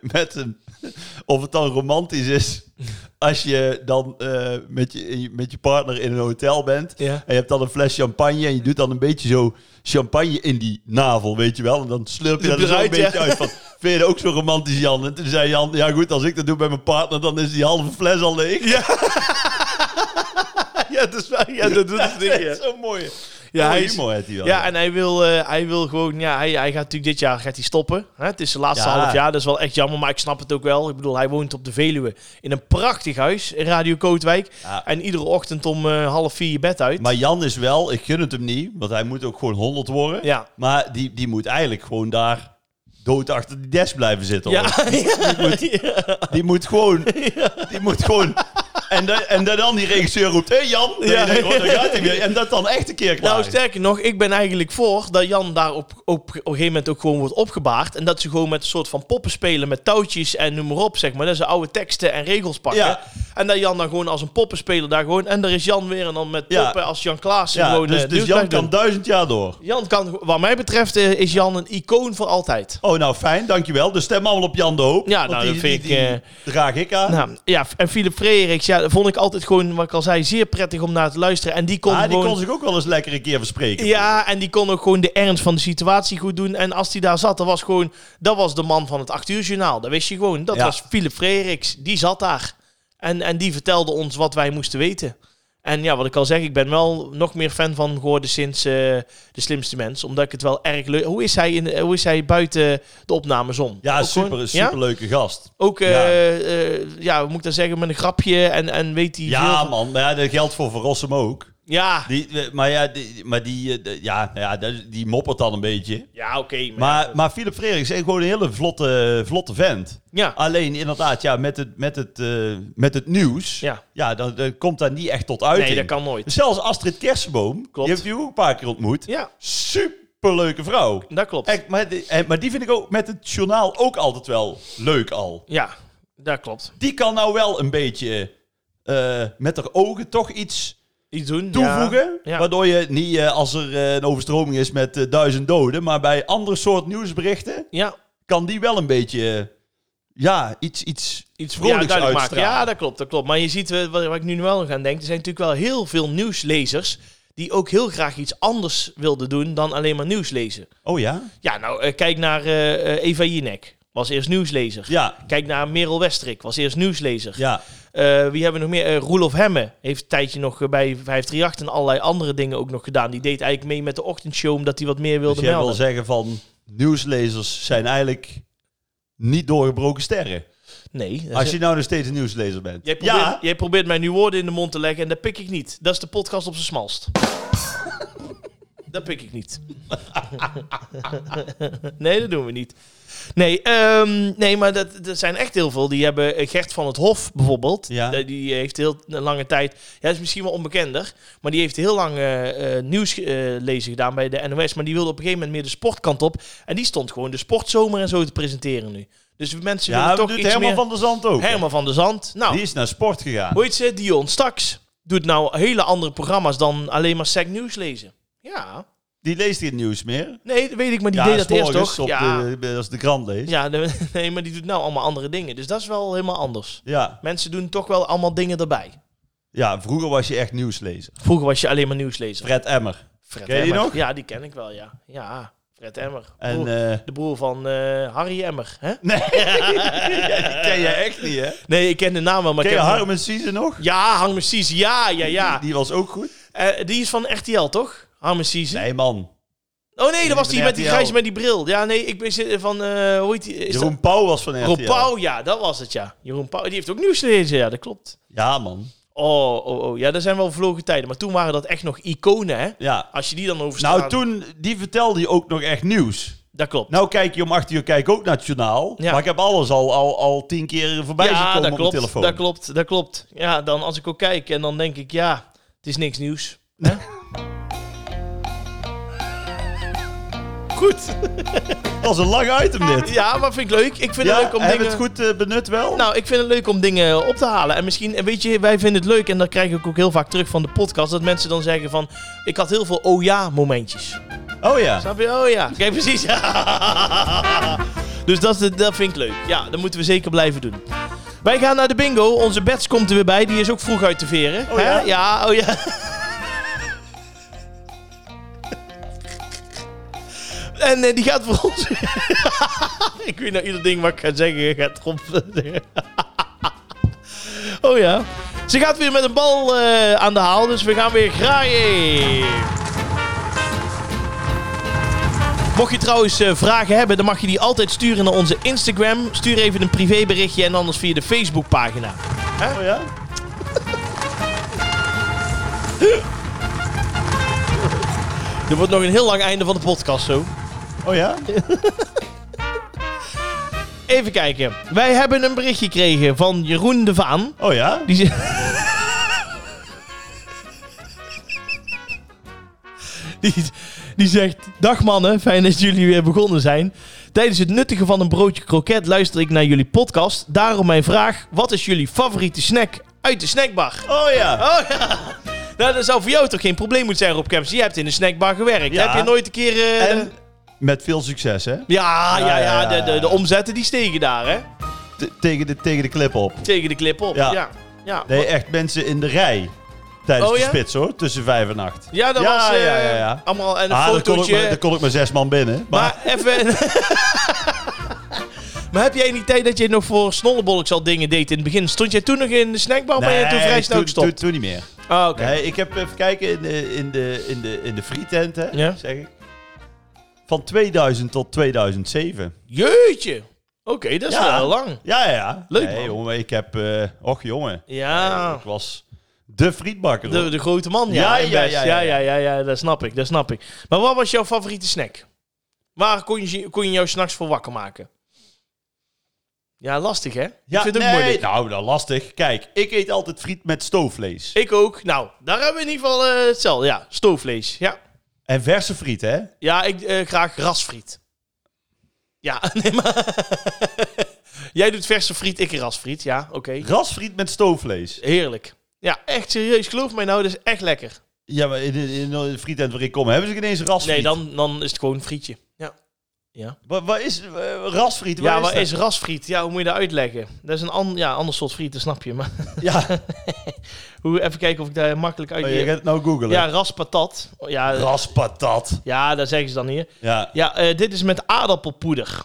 B: Met een, of het dan romantisch is. Als je dan eh, met, je, met je partner in een hotel bent.
A: Ja.
B: En je hebt dan een fles champagne. En je doet dan een beetje zo champagne in die navel, weet je wel. En dan slurp je dat er zo een
A: Eruit, ja.
B: beetje uit. Van, vind je dat ook zo romantisch, Jan? En toen zei Jan, ja goed, als ik dat doe bij mijn partner, dan is die halve fles al (laughs) leeg. Ja,
A: ja, dat is wel, ja, dat doet (laughs) het ding, ja.
B: Zo'n mooie,
A: Ja,
B: ja,
A: hij
B: mooie
A: is-
B: humor heeft hij wel.
A: Ja, en hij wil, eh, hij wil gewoon, ja, hij, hij gaat natuurlijk dit jaar gaat hij stoppen. Hè? Het is zijn laatste
B: Ja.
A: half jaar, dat is wel echt jammer, maar ik snap het ook wel. Ik bedoel, hij woont op de Veluwe in een prachtig huis, in Radio Kootwijk.
B: Ja.
A: En iedere ochtend om eh, half vier je bed uit.
B: Maar Jan is wel, ik gun het hem niet, want hij moet ook gewoon 100 worden.
A: ja.
B: Maar die, die moet eigenlijk gewoon daar dood achter die desk blijven zitten. (laughs) hoor.
A: (laughs)
B: Die moet gewoon... Die moet gewoon en, da- en dat dan die regisseur roept... Hé hey Jan! Dat je
A: Ja.
B: denkt, oh,
A: (laughs)
B: daar gaat hij weer. En dat dan echt een keer klaar
A: Nou,
B: is.
A: sterker nog, ik ben eigenlijk voor dat Jan daar op, op, op een gegeven moment ook gewoon wordt opgebaard. En dat ze gewoon met een soort van poppen spelen met touwtjes en noem maar op, zeg maar. Dat ze oude teksten en regels pakken.
B: Ja.
A: En dat Jan dan gewoon als een poppenspeler daar gewoon... En daar is Jan weer en dan met
B: Ja.
A: poppen als Jan Klaas
B: ja,
A: gewoon... eh,
B: dus dus
A: nieuws
B: Jan
A: blijft
B: kan
A: doen.
B: duizend jaar door.
A: Jan kan, wat mij betreft, eh, is Jan een icoon voor altijd.
B: Oh, nou fijn, dankjewel. Dus stem allemaal op Jan de Hoop.
A: Ja,
B: want
A: nou, dat vind ik, eh,
B: draag ik aan.
A: Nou, ja, en Philip Frederiks, ja, dat vond ik altijd gewoon, wat ik al zei, zeer prettig om naar te luisteren. En die kon
B: ah, die
A: gewoon...
B: kon zich ook wel eens lekker een keer verspreken.
A: Ja, en die kon ook gewoon de ernst van de situatie goed doen. En als die daar zat, dat was gewoon... Dat was de man van het 8 uur journaal. Dat wist je gewoon. Dat
B: Ja.
A: was Philip Frederiks. Die zat daar. En, en die vertelde ons wat wij moesten weten. En ja, wat ik al zeg, ik ben wel nog meer fan van hem geworden sinds eh, De Slimste Mens. Omdat ik het wel erg leuk... Hoe is hij, in, hoe is hij buiten de opnames om?
B: Ja,
A: Ook gewoon-
B: super,
A: ja?
B: superleuke gast.
A: Ook, eh,
B: Ja.
A: eh, ja, hoe moet ik dat zeggen, met een grapje en, en weet hij veel
B: Ja,
A: van-
B: man. Maar ja, dat geldt voor Van Rossum ook.
A: Ja,
B: Die, eh, maar ja, die, maar die, eh, de- ja, nou ja, dat- die moppert dan een beetje.
A: ja oké. maar,
B: Maar, maar Philip Frederiks is gewoon een hele vlotte, vlotte vent.
A: ja,
B: Alleen inderdaad, ja, met het, met het, eh, met het nieuws,
A: Ja.
B: dan, dan komt dat niet echt tot uiting. Dus-
A: nee, dat kan nooit.
B: Zelfs Astrid Kersenboom,
A: Klopt.
B: die heeft u ook een paar keer ontmoet.
A: Ja,
B: Superleuke vrouw.
A: dat klopt.
B: Echt, maar, die, eh, maar die vind ik ook met het journaal ook altijd wel leuk al.
A: Ja, Dat klopt.
B: Die kan nou wel een beetje eh, met haar ogen toch iets
A: Iets doen.
B: toevoegen.
A: Ja.
B: Waardoor je niet eh, als er eh, een overstroming is met eh, duizend doden, maar bij andere soort nieuwsberichten
A: Ja, ja
B: kan die wel een beetje eh, ja, iets, iets
A: iets
B: Vrolijks
A: ja, duidelijk maken.
B: uitstralen.
A: Ja, dat klopt, dat klopt. Maar je ziet, eh, wat, wat ik nu wel nog aan denk, er zijn natuurlijk wel heel veel nieuwslezers die ook heel graag iets anders wilden doen dan alleen maar nieuws lezen.
B: Oh ja?
A: Ja, nou, eh, kijk naar eh, eh, Eva Jinek, was eerst nieuwslezer.
B: Ja,
A: Kijk naar Merel Westrik, was eerst nieuwslezer.
B: ja. Dus
A: Eh, wie hebben we nog meer? Eh, Roelof Hemme heeft een tijdje nog eh, bij 538 en allerlei andere dingen ook nog gedaan. Die deed eigenlijk mee met de ochtendshow omdat hij wat meer wilde
B: Dus jij wil
A: melden.
B: zeggen van nieuwslezers zijn eigenlijk niet doorgebroken sterren.
A: Nee, dat
B: Als
A: is-
B: je nou nog steeds een nieuwslezer bent.
A: jij, probeert,
B: ja,
A: jij probeert mij nu woorden in de mond te leggen en dat pik ik niet. Dat is de podcast op zijn
B: (laughs)
A: smalst. dat pik ik niet. (laughs) nee, dat doen we niet. Nee, ehm, nee maar dat, dat zijn echt heel veel. Die hebben eh, Gert van het Hof bijvoorbeeld.
B: Ja.
A: Eh, Die heeft heel een lange tijd. Ja, is misschien wel onbekender. Maar die heeft heel lang eh, eh, nieuws eh, lezen gedaan bij de NOS. Maar die wilde op een gegeven moment meer de sportkant op. En die stond gewoon de sportzomer en zo te presenteren nu. Dus mensen
B: ja
A: willen
B: we
A: toch
B: doet
A: iets
B: Herman
A: meer...
B: van der Zand ook.
A: Herman van der Zand. Nou,
B: Die is naar sport gegaan.
A: hoe heet ze? Dion Staks. Doet nou hele andere programma's dan alleen maar sec nieuws lezen. Ja.
B: Die leest geen nieuws meer.
A: Nee, dat weet ik, maar die
B: ja,
A: deed
B: s
A: dat eerst
B: morgens
A: toch?
B: Op
A: ja.
B: de, als de krant leest. Ja.
A: Ja, de- (laughs) nee, maar die doet nou allemaal andere dingen. Dus dat is wel helemaal anders. Mensen doen toch wel allemaal dingen erbij.
B: Ja, vroeger was je echt nieuwslezer.
A: Vroeger was je alleen maar nieuwslezer.
B: Fred Emmer.
A: Fred
B: Ken je die
A: Emmer.
B: nog?
A: Ja, die ken ik wel, ja. Ja, Fred Emmer.
B: En,
A: Broer-
B: eh,
A: de broer van eh, Harry Emmer, hè?
B: (laughs) nee, Ja, die ken je echt niet, hè?
A: Nee, ik ken de naam wel, maar
B: Ken
A: ik
B: je
A: heb-
B: Harmen Siezen nog?
A: Ja, Harm Precies. Ja, ja, ja.
B: Die was ook goed.
A: Eh, die is van RTL, toch? Harm Precies.
B: Nee, man.
A: Oh nee, dat was
B: van
A: die met die
B: RTL.
A: grijs met die bril. Ja, nee, ik ben zit- van, eh, hoe heet die? Is
B: Jeroen Pauw was van RTL.
A: dat- Jeroen Pauw, ja, dat was het, ja. Jeroen Pauw, die heeft ook nieuws gelezen, ja, dat klopt.
B: Ja, man.
A: Oh, oh, oh, ja, dat zijn wel vervlogen tijden. Maar toen waren dat echt nog iconen, hè?
B: Ja.
A: Als je die dan overstaat.
B: Nou, toen, die vertelde je ook nog echt nieuws.
A: Dat klopt.
B: Nou kijk je om acht uur, kijk ook naar het journaal.
A: Ja.
B: Maar ik heb alles al, al, al tien keer voorbij zien
A: ja,
B: komen
A: dat
B: op
A: klopt,
B: mijn telefoon.
A: dat klopt, dat klopt. Ja, dan als ik ook kijk en dan denk ik, ja, het is niks nieuws. Hè? Goed.
B: Dat was een lang item dit.
A: Ja, maar vind ik leuk. Ik vind
B: Ja,
A: het leuk om
B: heb
A: dingen...
B: het goed eh, benut wel?
A: Nou, ik vind het leuk om dingen eh, op te halen. En misschien, weet je, wij vinden het leuk. En dat krijg ik ook heel vaak terug van de podcast. Dat mensen dan zeggen van, ik had heel veel oh ja momentjes.
B: oh ja.
A: Snap je? Oh ja. Kijk, precies. (laughs) dus dat, is- dat vind ik leuk. Ja, dat moeten we zeker blijven doen. Wij gaan naar de bingo. Onze bets komt er weer bij. Die is ook vroeg uit te veren.
B: Oh
A: Hè?
B: ja?
A: Ja, oh ja. (laughs) En eh, die gaat voor ons... (laughs) ik weet nou ieder ding wat ik ga zeggen. Gaat rompelen. (laughs) oh ja. Ze gaat weer met een bal eh, aan de haal. Dus we gaan weer graaien. Mocht je trouwens eh, vragen hebben, dan mag je die altijd sturen naar onze Instagram. Stuur even een privéberichtje en anders via de Facebookpagina.
B: Oh ja?
A: Er wordt nog een heel lang einde van de podcast zo.
B: Oh ja?
A: Even kijken. Wij hebben een berichtje gekregen van Jeroen de Vaan.
B: Oh ja?
A: Die zegt... (laughs) Die, die zegt, dag mannen, fijn dat jullie weer begonnen zijn. Tijdens het nuttigen van een broodje kroket luister ik naar jullie podcast. Daarom mijn vraag, wat is jullie favoriete snack uit de snackbar?
B: Oh ja.
A: Oh ja. Nou, dat zou voor jou toch geen probleem moeten zijn, Rob Kemps. Je hebt in de snackbar gewerkt.
B: Ja.
A: Heb je nooit een keer... eh,
B: En met veel succes, hè?
A: Ja, ja, ja,
B: Ja, ja, ja.
A: De, de, de omzetten die stegen daar, hè?
B: T- tegen, de, tegen de clip op.
A: Tegen de clip op. Ja.
B: Ja.
A: Ja, ja.
B: Nee, echt mensen in de rij. Tijdens
A: Oh
B: de
A: ja?
B: spits, hoor. Tussen vijf en acht.
A: dat
B: Ja,
A: was eh,
B: ja, ja, ja.
A: allemaal en een
B: Ah, daar kon, ik
A: fotootje.
B: maar, daar kon ik maar zes man binnen. Maar,
A: maar even...
B: (laughs)
A: (laughs) maar heb jij een idee dat jij nog voor snollebolks al dingen deed in het begin? Stond jij toen nog in de snackbar? maar ben jij toen vrij snel
B: toen, toen,
A: gestopt?
B: toen niet meer.
A: Ah, oké.
B: Nee, ik heb even kijken in de, in de, in de, in de frietent, hè,
A: Ja.
B: zeg ik. Van 2000 tot 2007.
A: Jeetje. Oké, dat is
B: Ja.
A: wel heel lang.
B: Ja, ja, ja.
A: Leuk,
B: nee,
A: man.
B: jongen, ik heb... eh, och, jongen.
A: Ja.
B: Ik was de frietbakker.
A: De,
B: hoor.
A: de grote man, ja.
B: Ja,
A: in
B: ja,
A: Best.
B: ja, ja,
A: ja, ja, ja, ja, dat snap ik, dat snap ik. Maar wat was jouw favoriete snack? Waar kon je, kon je jou s'nachts voor wakker maken? Ja, lastig hè? ik vind het ook
B: nee,
A: moeilijk.
B: Nou, dat lastig. Kijk, ik eet altijd friet met stoofvlees.
A: Ik ook. Nou, daar hebben we in ieder geval eh, hetzelfde. Ja, stoofvlees. Ja,
B: En verse friet, hè?
A: (laughs) ja ik eh, graag rasfriet. Ja, nee, maar... Jij doet verse friet, ik rasfriet. Ja, oké.
B: Rasfriet met stoofvlees.
A: Heerlijk. Ja, echt serieus. Geloof mij nou, dat is echt lekker.
B: Ja, maar in de, in de frietent waar ik kom, hebben ze geen eens rasfriet.
A: Nee, dan, dan is het gewoon een frietje. Ja. Ja,
B: Wat, wat is eh, rasfriet?
A: ja
B: wat
A: wat is rasfriet? Ja, hoe moet je dat uitleggen? Dat is een an ja, ander soort friet, dat snap je. Maar (laughs)
B: dat? (laughs) Ja,
A: hoe, even kijken of ik daar makkelijk uit...
B: oh, je gaat het nou googlen.
A: ja, raspatat. Ja,
B: Raspatat.
A: ja, dat zeggen ze dan hier.
B: Ja,
A: Ja, eh, dit is met aardappelpoeder.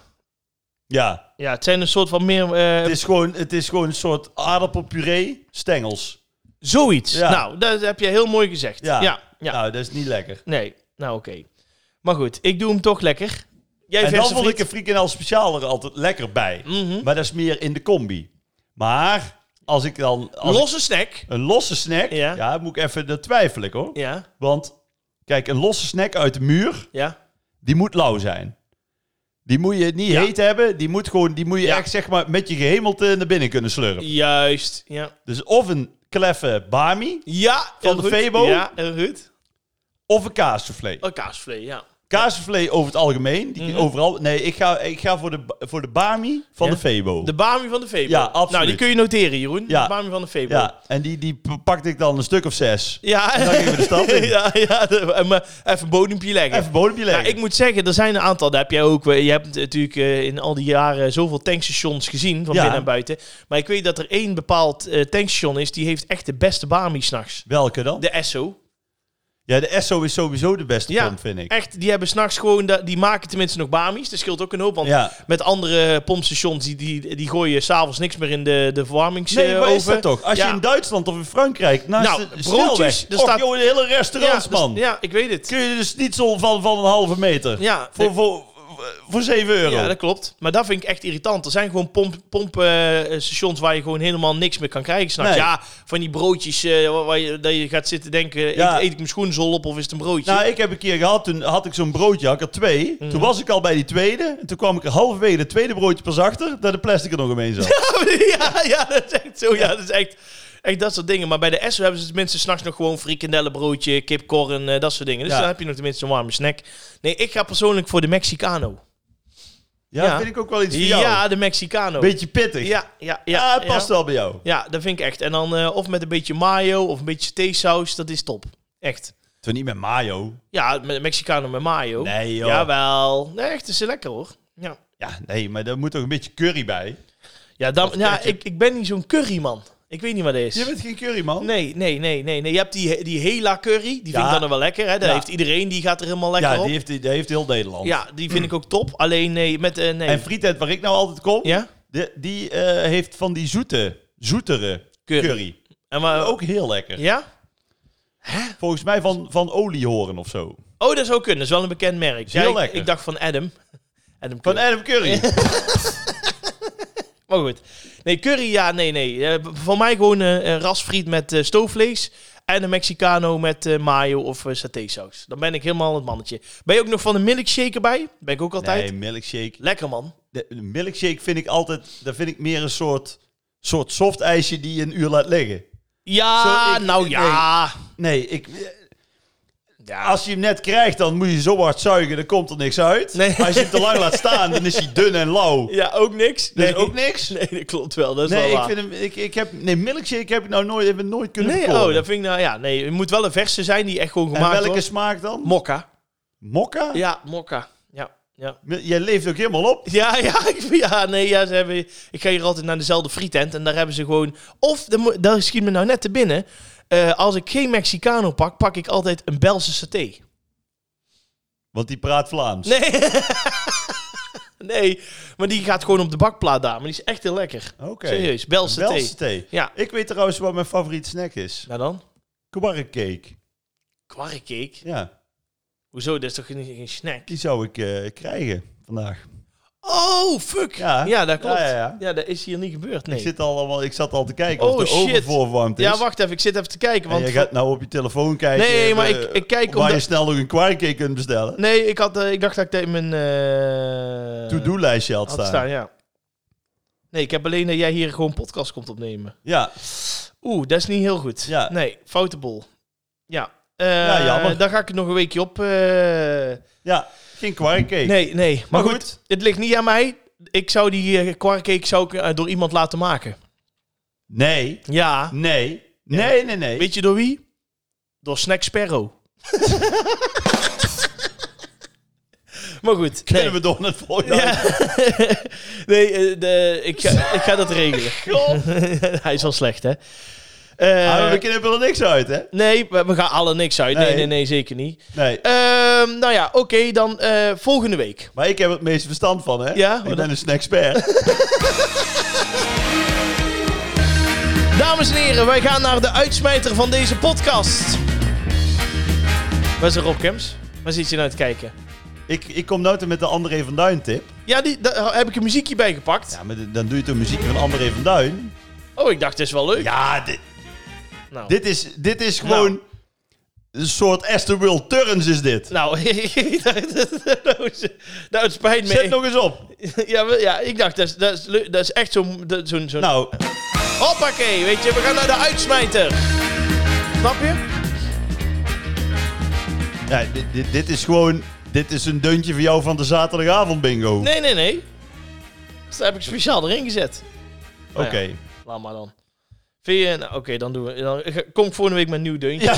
B: ja.
A: Ja, het zijn een soort van meer... eh,
B: Het, is gewoon, het is gewoon een soort aardappelpuree, stengels.
A: zoiets.
B: Ja.
A: Nou, dat heb je heel mooi gezegd.
B: Ja.
A: ja, ja.
B: Nou, dat is niet lekker.
A: Nee, nou oké. Maar goed, ik doe hem toch lekker. Jij
B: En dan
A: verse
B: vond
A: friet.
B: ik een frikandel speciaal er altijd lekker bij.
A: Mhm.
B: Maar dat is meer in de combi. Maar als ik dan als ik-
A: Losse snack.
B: een losse snack,
A: Ja.
B: ja, moet ik even, dat twijfel ik hoor.
A: Ja,
B: Want kijk, een losse snack uit de muur,
A: ja.
B: die moet lauw zijn. Die moet je niet
A: Ja.
B: heet hebben, die moet gewoon, die moet je
A: Ja.
B: echt zeg maar met je gehemelte naar binnen kunnen slurpen.
A: Juist, ja.
B: Dus of een kleffe bami,
A: Ja,
B: Van
A: heel
B: de
A: goed.
B: Febo?
A: Ja, heel goed.
B: of een kaassoufflé.
A: Oh, kaasvlee, ja.
B: Kaassoufflé over het algemeen, die
A: Mhm.
B: overal. Nee, ik ga, ik ga voor, de, voor de bami van
A: Ja.
B: de Febo.
A: De Bami van de Febo.
B: Ja, absoluut.
A: Nou, die kun je noteren, Jeroen.
B: Ja.
A: De Bami van de Febo.
B: Ja, en die, die p- pakte ik dan een stuk of
A: (laughs)
B: zes.
A: Ja,
B: En dan gingen we de stad in.
A: ja, ja de- en maar even bodempje leggen.
B: Even bodempje
A: Ja,
B: leggen.
A: ik moet zeggen, er zijn een aantal, daar heb jij ook, eh, je hebt natuurlijk eh, in al die jaren zoveel tankstations gezien, van
B: Ja.
A: binnen en buiten. Maar ik weet dat er één bepaald eh, tankstation is, die heeft echt de beste Bami s'nachts.
B: Welke dan?
A: De Esso.
B: Ja, de Esso is sowieso de beste
A: Ja.
B: pomp, vind ik.
A: Echt, die hebben s'nachts gewoon, da- die maken tenminste nog Bami's. Dat scheelt ook een hoop, want
B: Ja.
A: met andere pompstations, die, die, die gooien s'avonds niks meer in de, de verwarmings
B: Nee,
A: eh,
B: maar is
A: oven.
B: dat toch? Als
A: Ja.
B: je in Duitsland of in Frankrijk naast
A: Nou,
B: de
A: broodjes,
B: snelweg...
A: er
B: Och,
A: staat-
B: joh, de hele restaurants,
A: ja,
B: man.
A: dus- ja, ik weet het.
B: Kun je dus niet zo van, van een halve meter.
A: Ja,
B: Voor,
A: de-
B: voor, voor 7 euro.
A: ja, dat klopt. Maar dat vind ik echt irritant. Er zijn gewoon pompstations pomp, eh, eh, stations waar je gewoon helemaal niks meer kan krijgen. Snap
B: Nee.
A: Ja, van die broodjes eh, waar, waar je, dat je gaat zitten denken, eet-
B: Ja.
A: eet, ik mijn schoenzol op of is het een broodje?
B: Nou, ik heb een keer gehad, toen had ik zo'n broodje, had ik er twee.
A: Mhm.
B: Toen was ik al bij die tweede. En toen kwam ik er halverwege de tweede broodje pas achter, dat de plastic er nog omheen zat.
A: (laughs) (laughs) ja, ja, dat is echt zo. Ja, dat is echt, echt dat soort dingen. Maar bij de Esso hebben ze tenminste s'nachts nog gewoon frikandellenbroodje, kipkorn, eh, dat soort dingen. Dus
B: Ja.
A: dan heb je nog tenminste een warme snack. Nee, ik ga persoonlijk voor de Mexicano.
B: Ja,
A: Ja.
B: vind ik ook wel iets voor jou.
A: Ja, de Mexicano.
B: Beetje pittig.
A: ja, ja, ja.
B: Ja, het
A: ja.
B: past wel bij jou.
A: Ja, dat vind ik echt. En dan eh, of met een beetje mayo of een beetje theesaus, dat is top. Echt.
B: Toen niet met mayo.
A: Ja, met Mexicano met mayo.
B: Nee, joh.
A: Jawel. Nee, echt, het is lekker hoor. Ja,
B: Ja, nee, maar daar moet toch een beetje curry bij.
A: ja, dan,
B: Of
A: ja
B: ketchup.
A: ik, ik ben niet zo'n curryman. Ik weet niet wat dat is.
B: Je bent geen curry, man.
A: Nee, nee, nee, nee, nee. Je hebt die, die hela curry, die vind ik
B: Ja.
A: dan nog wel lekker. Hè? Daar
B: Ja.
A: heeft iedereen, die gaat er helemaal lekker
B: ja,
A: op.
B: die heeft, die heeft heel Nederland.
A: Ja, die vind ik ook top. Alleen nee, met... eh, nee.
B: En Frietent, waar ik nou altijd kom,
A: ja?
B: de- die eh, heeft van die zoete, zoetere
A: Curry.
B: curry.
A: En maar,
B: Ook heel lekker.
A: Ja?
B: Volgens mij van, van oliehoren of zo.
A: Oh, dat zou kunnen. Dat is wel een bekend merk.
B: heel
A: Ja, ik-
B: lekker.
A: Ik dacht van Adam. (laughs) Adam
B: Van
A: Curry. (laughs)
B: Adam Curry.
A: Maar goed. Nee, curry, ja, nee, nee. Eh, b- voor mij gewoon eh, een rasfriet met eh, stoofvlees. En een Mexicano met eh, mayo of eh satésaus. Dan ben ik helemaal het mannetje. Ben je ook nog van een milkshake bij? Ben ik ook altijd.
B: nee, milkshake.
A: Lekker man.
B: De, de milkshake vind ik altijd, dat vind ik meer een soort, soort soft ijsje die je een uur laat liggen.
A: Ja,
B: Zo, ik-
A: nou
B: nee.
A: ja.
B: Nee, ik,
A: ja.
B: als je hem net krijgt, dan moet je zo hard zuigen, dan komt er niks uit.
A: Nee.
B: Als je hem te lang laat staan, dan is hij dun en lauw.
A: Ja, ook niks.
B: Dus ook niks.
A: Nee, dat klopt wel. Dat is
B: Nee,
A: wel
B: ik
A: waar.
B: vind hem, ik, ik heb, nee, milkshake heb ik nou nooit, heb ik nooit kunnen
A: Nee,
B: bekoren.
A: oh, dat vind ik nou... Ja, nee, het moet wel een verse zijn die echt gewoon
B: En
A: gemaakt
B: welke
A: wordt.
B: smaak dan?
A: Mokka.
B: Mokka?
A: Ja, mokka. Ja, ja.
B: Mi- Jij leeft ook helemaal op.
A: (laughs) Ja, ja, ik, ja, nee, ja, ze hebben, ik ga hier altijd naar dezelfde frietent en daar hebben ze gewoon... Of, de mo- dat schiet me nou net te binnen, eh, als ik geen Mexicano pak, pak ik altijd een Belse saté.
B: Want die praat Vlaams.
A: Nee. (laughs) nee, maar die gaat gewoon op de bakplaat daar, maar die is echt heel lekker.
B: Oké.
A: Serieus, Belse
B: Belse
A: saté.
B: thee.
A: Ja,
B: Ik weet trouwens wat mijn favoriete snack is.
A: nou dan,
B: Kwarkcake.
A: kwarkcake.
B: Ja,
A: Hoezo, dat is toch geen, geen snack?
B: die zou ik eh, krijgen vandaag.
A: Oh, fuck. Ja,
B: Ja.
A: dat klopt. Ja,
B: Ja, ja, ja.
A: dat is hier niet gebeurd, nee.
B: Ik, zit al allemaal, ik zat al te kijken of
A: Oh,
B: de
A: shit.
B: oven voorwarmd is.
A: Ja, wacht even, ik zit even te kijken,
B: En
A: want...
B: je gaat nou op je telefoon kijken.
A: Nee, maar
B: eh,
A: ik- ik kijk
B: Waar je
A: omdat-
B: snel nog een kwarkcake kunt bestellen.
A: Nee, ik, had, eh, ik dacht dat ik dat in mijn... eh,
B: To-do-lijstje had
A: had
B: staan.
A: staan. ja. Nee, ik heb alleen dat jij hier gewoon podcast komt opnemen.
B: Ja,
A: Oeh, dat is niet heel goed.
B: Ja.
A: Nee, foute bol. Ja.
B: Ja, jammer.
A: Daar ga ik het nog een weekje op. eh,
B: ja, geen kwarkcake.
A: Nee, nee. Maar,
B: Maar
A: goed,
B: goed.
A: het ligt niet aan mij. ik zou die eh, kwarkcake zou ik, eh, door iemand laten maken.
B: Nee,
A: Ja.
B: nee, nee, nee, nee.
A: Weet je door wie? Door Snack
B: (laughs)
A: Sparrow. maar goed.
B: Kunnen we door naar het volgende?
A: Ja. Oh. (laughs) nee, eh, de, ik, ga, ik ga dat (laughs) regelen.
B: God.
A: Hij is wel slecht, hè? Eh,
B: Ah, maar we knippen er niks uit, hè?
A: nee, we, we gaan alle niks uit. Nee,
B: Nee.
A: nee, nee, zeker niet.
B: Nee.
A: Ehm, nou ja, oké, dan eh, volgende week.
B: Maar ik heb het meeste verstand van, hè?
A: Ja,
B: Ik
A: wat dan?
B: ben een
A: (laughs)
B: snackspert.
A: Dames en heren, wij gaan naar de uitsmijter van deze podcast. Waar is de Rob Kems? Waar zit je naar het kijken?
B: ik, ik kom nou toe met de André van Duin tip.
A: Ja, die, daar heb ik een muziekje bij gepakt.
B: Ja, maar d- dan doe je toch muziek van André van Duin?
A: Oh, ik dacht, dit is wel leuk.
B: Ja, dit,
A: Nou,
B: dit, is, dit is gewoon... Een soort Esther Will Turns is dit.
A: nou (laughs) ik dacht, nou, ze- nou, het spijt me.
B: Zet nog eens op.
A: (laughs) Ja, we- ja, ik dacht, dat is, dat is, leuk, dat is echt zo'n... dat- zo'n zo'n
B: Nou,
A: Hoppakee, weet je, we gaan naar de uitsmijter. Snap je?
B: ja, dit, dit, dit is gewoon... Dit is een deuntje voor jou van de zaterdagavond bingo.
A: Nee, nee, nee. Dus dat heb ik speciaal erin gezet.
B: Oké.
A: Laat maar dan. Vind je... Nou, oké, dan doen we... Dan ga- kom ik volgende week met een nieuw deuntje.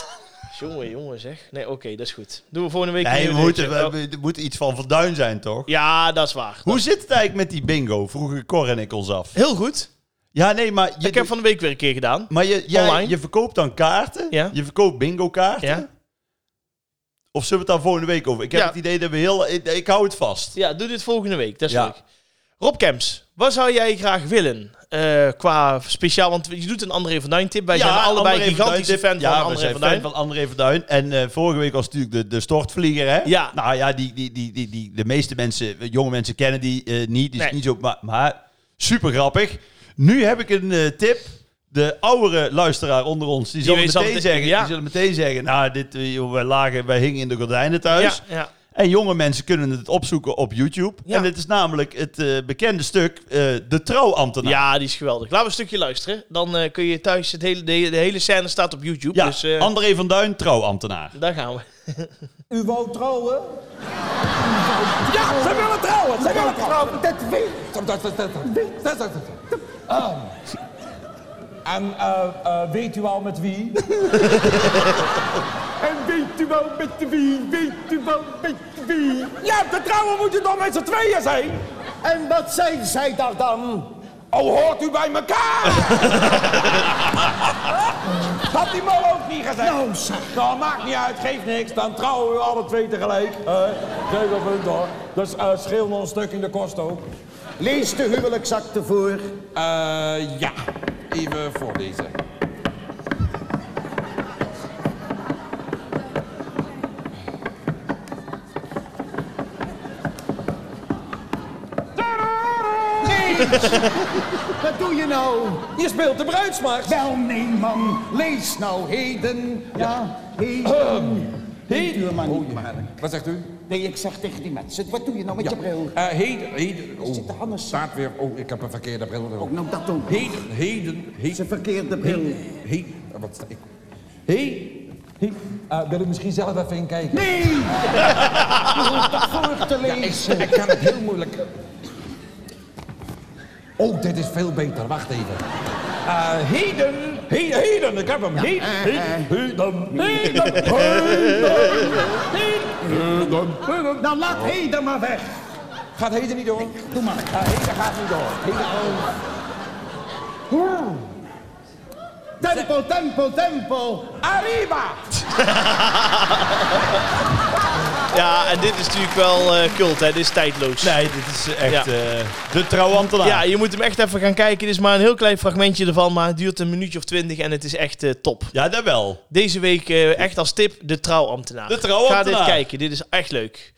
A: (laughs) Jongen, jongen zeg. Nee, oké, dat is goed. Doen we volgende week een
B: Nee, we
A: nieuw
B: moeten,
A: deuntje.
B: we, we- er moet iets van Van Duin zijn, toch?
A: Ja, dat is waar.
B: Hoe zit het eigenlijk met die bingo? Vroegen Cor en ik ons af.
A: Heel goed.
B: Ja, nee, maar je,
A: Ik heb van de week weer een keer gedaan.
B: maar je, jij-
A: Online.
B: je verkoopt dan kaarten.
A: Ja.
B: Je verkoopt bingo kaarten.
A: Ja?
B: Of zullen we het daar volgende week over? Ik heb
A: Ja.
B: het idee dat we heel... Ik, ik hou het vast.
A: Ja, doe dit volgende week. Dat is
B: Ja.
A: leuk. Rob Kemps, wat zou jij graag willen? Eh, qua speciaal, want je doet een André van Duin tip. Wij zijn allebei
B: André van
A: gigantische fan
B: Duin, ja,
A: van
B: we
A: André
B: zijn
A: van
B: fan
A: Duin.
B: van André van Duin. En eh, vorige week was natuurlijk de, de stortvlieger, hè?
A: Ja.
B: Nou ja, die, die, die, die, die, de meeste mensen, jonge mensen kennen die eh, niet. Dus
A: Nee.
B: niet zo, maar, maar super grappig. Nu heb ik een eh, tip. De oudere luisteraar onder ons, die,
A: Die
B: zullen
A: weet al
B: meteen
A: meteen-
B: zeggen,
A: ja.
B: die zullen meteen zeggen, nou, dit, eh, joh, wij, lagen, wij hingen in de gordijnen thuis.
A: Ja, ja.
B: En jonge mensen kunnen het opzoeken op YouTube.
A: Ja.
B: En het is namelijk het eh, bekende stuk, eh, de trouwambtenaar.
A: ja, die is geweldig. Laten we een stukje luisteren. Dan eh, kun je thuis, het hele, de, de hele scène staat op YouTube.
B: Ja,
A: Dus eh,
B: André van Duin, trouwambtenaar.
A: daar gaan we.
C: U wou trouwen?
D: Ja, ze willen trouwen. Ze willen trouwen.
C: Dat weet
D: Dat, dat, dat, dat. Dat, dat, dat.
C: Ehm, En eh, eh, weet u al met wie? (laughs) en weet u wel met wie? Weet u wel met wie?
D: Ja, de trouwen moet je dan met z'n tweeën zijn.
C: En wat zijn zij daar dan?
D: Oh, hoort u bij elkaar?
C: (laughs)
D: Had die man ook niet gezegd?
C: Nou, zeg.
D: Nou, maakt niet uit, geeft niks. Dan trouwen we alle twee tegelijk. Eh, zeker punt hoor. Dus eh scheel nog een stuk in de kost ook.
C: Lees de huwelijksakte voor.
D: Eh, ja. Even voorlezen.
C: Wat doe je nou?
D: Je speelt de bruidsmacht.
C: Wel nee man, lees nou heden. Ja, Ehm, Oh, heden. Weet u hem maar niet maar.
D: Wat zegt u?
C: Nee, ik zeg tegen die mensen, wat doe je nou met je bril?
D: Eh, heden, heden.
C: zit de
D: Oh,
C: Hannes?
D: staat weer. Oh, ik heb een verkeerde bril erop.
C: Ook nou dat ook.
D: Heden, heden,
C: Ze
D: heden.
C: verkeerde bril.
D: Heden. eh, Wat sta ik? Heden. Heden. Eh, wil u misschien zelf even in kijken?
C: Nee! (laughs) Je hoort dat voor te lezen.
D: Ik, ik kan het heel moeilijk. Oh, dit is veel beter. Wacht even. Eh, heden. Heden, heden. Ik heb hem.
C: Eh,
D: Heden, heden, heden, heden, heden, heden, heden.
C: Nou, laat heden maar weg.
D: Gaat heden niet door?
C: Doe maar.
D: Eh, heden gaat niet door. Heden, oh.
C: Tempo, tempo, tempo.
D: Arriba!
A: Ja, en dit is natuurlijk wel eh, cult, hè. Dit is tijdloos.
B: Nee, dit is echt
A: Ja.
B: eh, de trouwambtenaar.
A: Ja, je moet hem echt even gaan kijken. Dit is maar een heel klein fragmentje ervan, maar het duurt een minuutje of twintig en het is echt eh, top.
B: Ja, dat wel.
A: Deze week eh, echt als tip, de trouwambtenaar.
B: De trouwambtenaar.
A: Ga dit kijken, dit is echt leuk.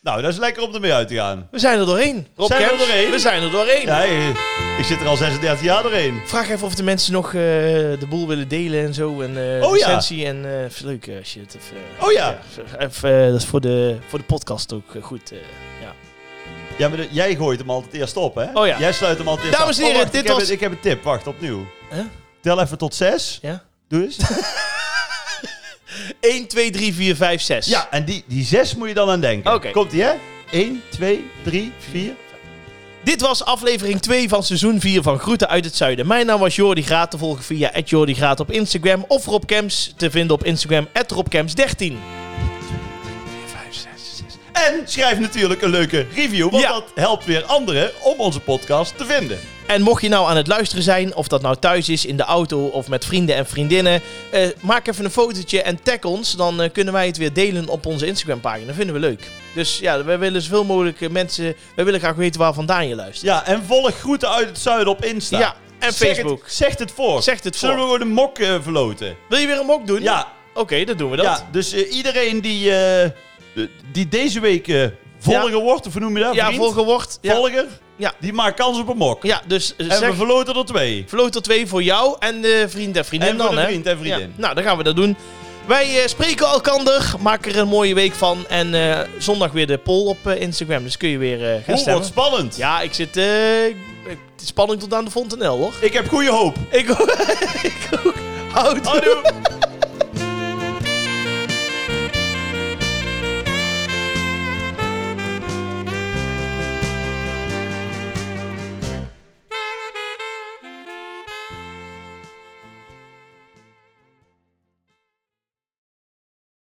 B: Nou, dat is lekker om ermee uit te gaan.
A: We zijn er doorheen. Rob
B: Zijn we er
A: Kemps,
B: doorheen?
A: We zijn er doorheen.
B: Ja, ik- ik zit er al 36 jaar doorheen.
A: Vraag even of de mensen nog eh, de boel willen delen en zo. En eh
B: Oh ja.
A: recensie en eh leuk eh, shit. Of, eh,
B: Oh ja.
A: even, eh, dat is voor de, voor de podcast ook eh, goed. eh, ja.
B: Ja, maar de- jij gooit hem altijd eerst op, hè?
A: Oh ja.
B: Jij sluit hem altijd eerst
A: Dames en
B: af.
A: heren,
B: wacht,
A: dit
B: ik, heb,
A: was-
B: een- ik heb een tip. Wacht, opnieuw.
A: Huh?
B: Tel even tot 6.
A: ja?
B: Doe eens.
A: 1, 2, 3, 4, 5, 6.
B: ja, en die, die 6 moet je dan aan denken.
A: Oké.
B: Komt-ie, hè? 1, 2, 3, 4.
A: Dit was aflevering 2 van seizoen 4 van Groeten uit het Zuiden. Mijn naam was Jordi Graat, te volgen via Jordi Graat op Instagram of Rob Kems, te vinden op Instagram @robkems13.
B: En schrijf natuurlijk een leuke review, want
A: Ja.
B: dat helpt weer anderen om onze podcast te vinden.
A: En mocht je nou aan het luisteren zijn, of dat nou thuis is, in de auto of met vrienden en vriendinnen, eh, maak even een fotootje en tag ons. Dan eh, kunnen wij het weer delen op onze Instagram-pagina. Dat vinden we leuk. Dus ja, wij willen zoveel mogelijk eh, mensen. Wij willen graag weten waar vandaan je luistert.
B: Ja, en volg Groeten uit het Zuiden op Insta.
A: Ja, en
B: Zeg
A: Facebook.
B: het, zeg het voor.
A: Zeg het
B: Zullen we
A: voor.
B: gewoon een mok eh, verloten?
A: Wil je weer een mok doen?
B: Ja,
A: Oké, dan doen we dat.
B: ja dus eh, iedereen die, eh, eh, die deze week eh, volger wordt, of hoe noem je dat?
A: Ja,
B: Vriend?
A: volgen wordt. Ja.
B: Volger?
A: Ja.
B: Die maakt kans op een mok.
A: Ja, dus eh,
B: En
A: zeg,
B: we verloten er twee.
A: Vloot tot twee voor jou en de vriend en vriendin
B: En voor
A: dan,
B: de
A: hè?
B: vriend en vriendin.
A: Ja. Nou, dan gaan we dat doen. Wij eh, spreken elkander, maak er een mooie week van. En eh, zondag weer de poll op eh, Instagram, dus kun je weer eh, gaan
B: Oeh,
A: stemmen.
B: wat spannend.
A: ja, ik zit... eh, ik- het is spanning tot aan de fontanel, hoor. (laughs)
B: Ik heb goede hoop. Oh,
A: Ik, ik ook. Houd.
B: (laughs) Houdoe.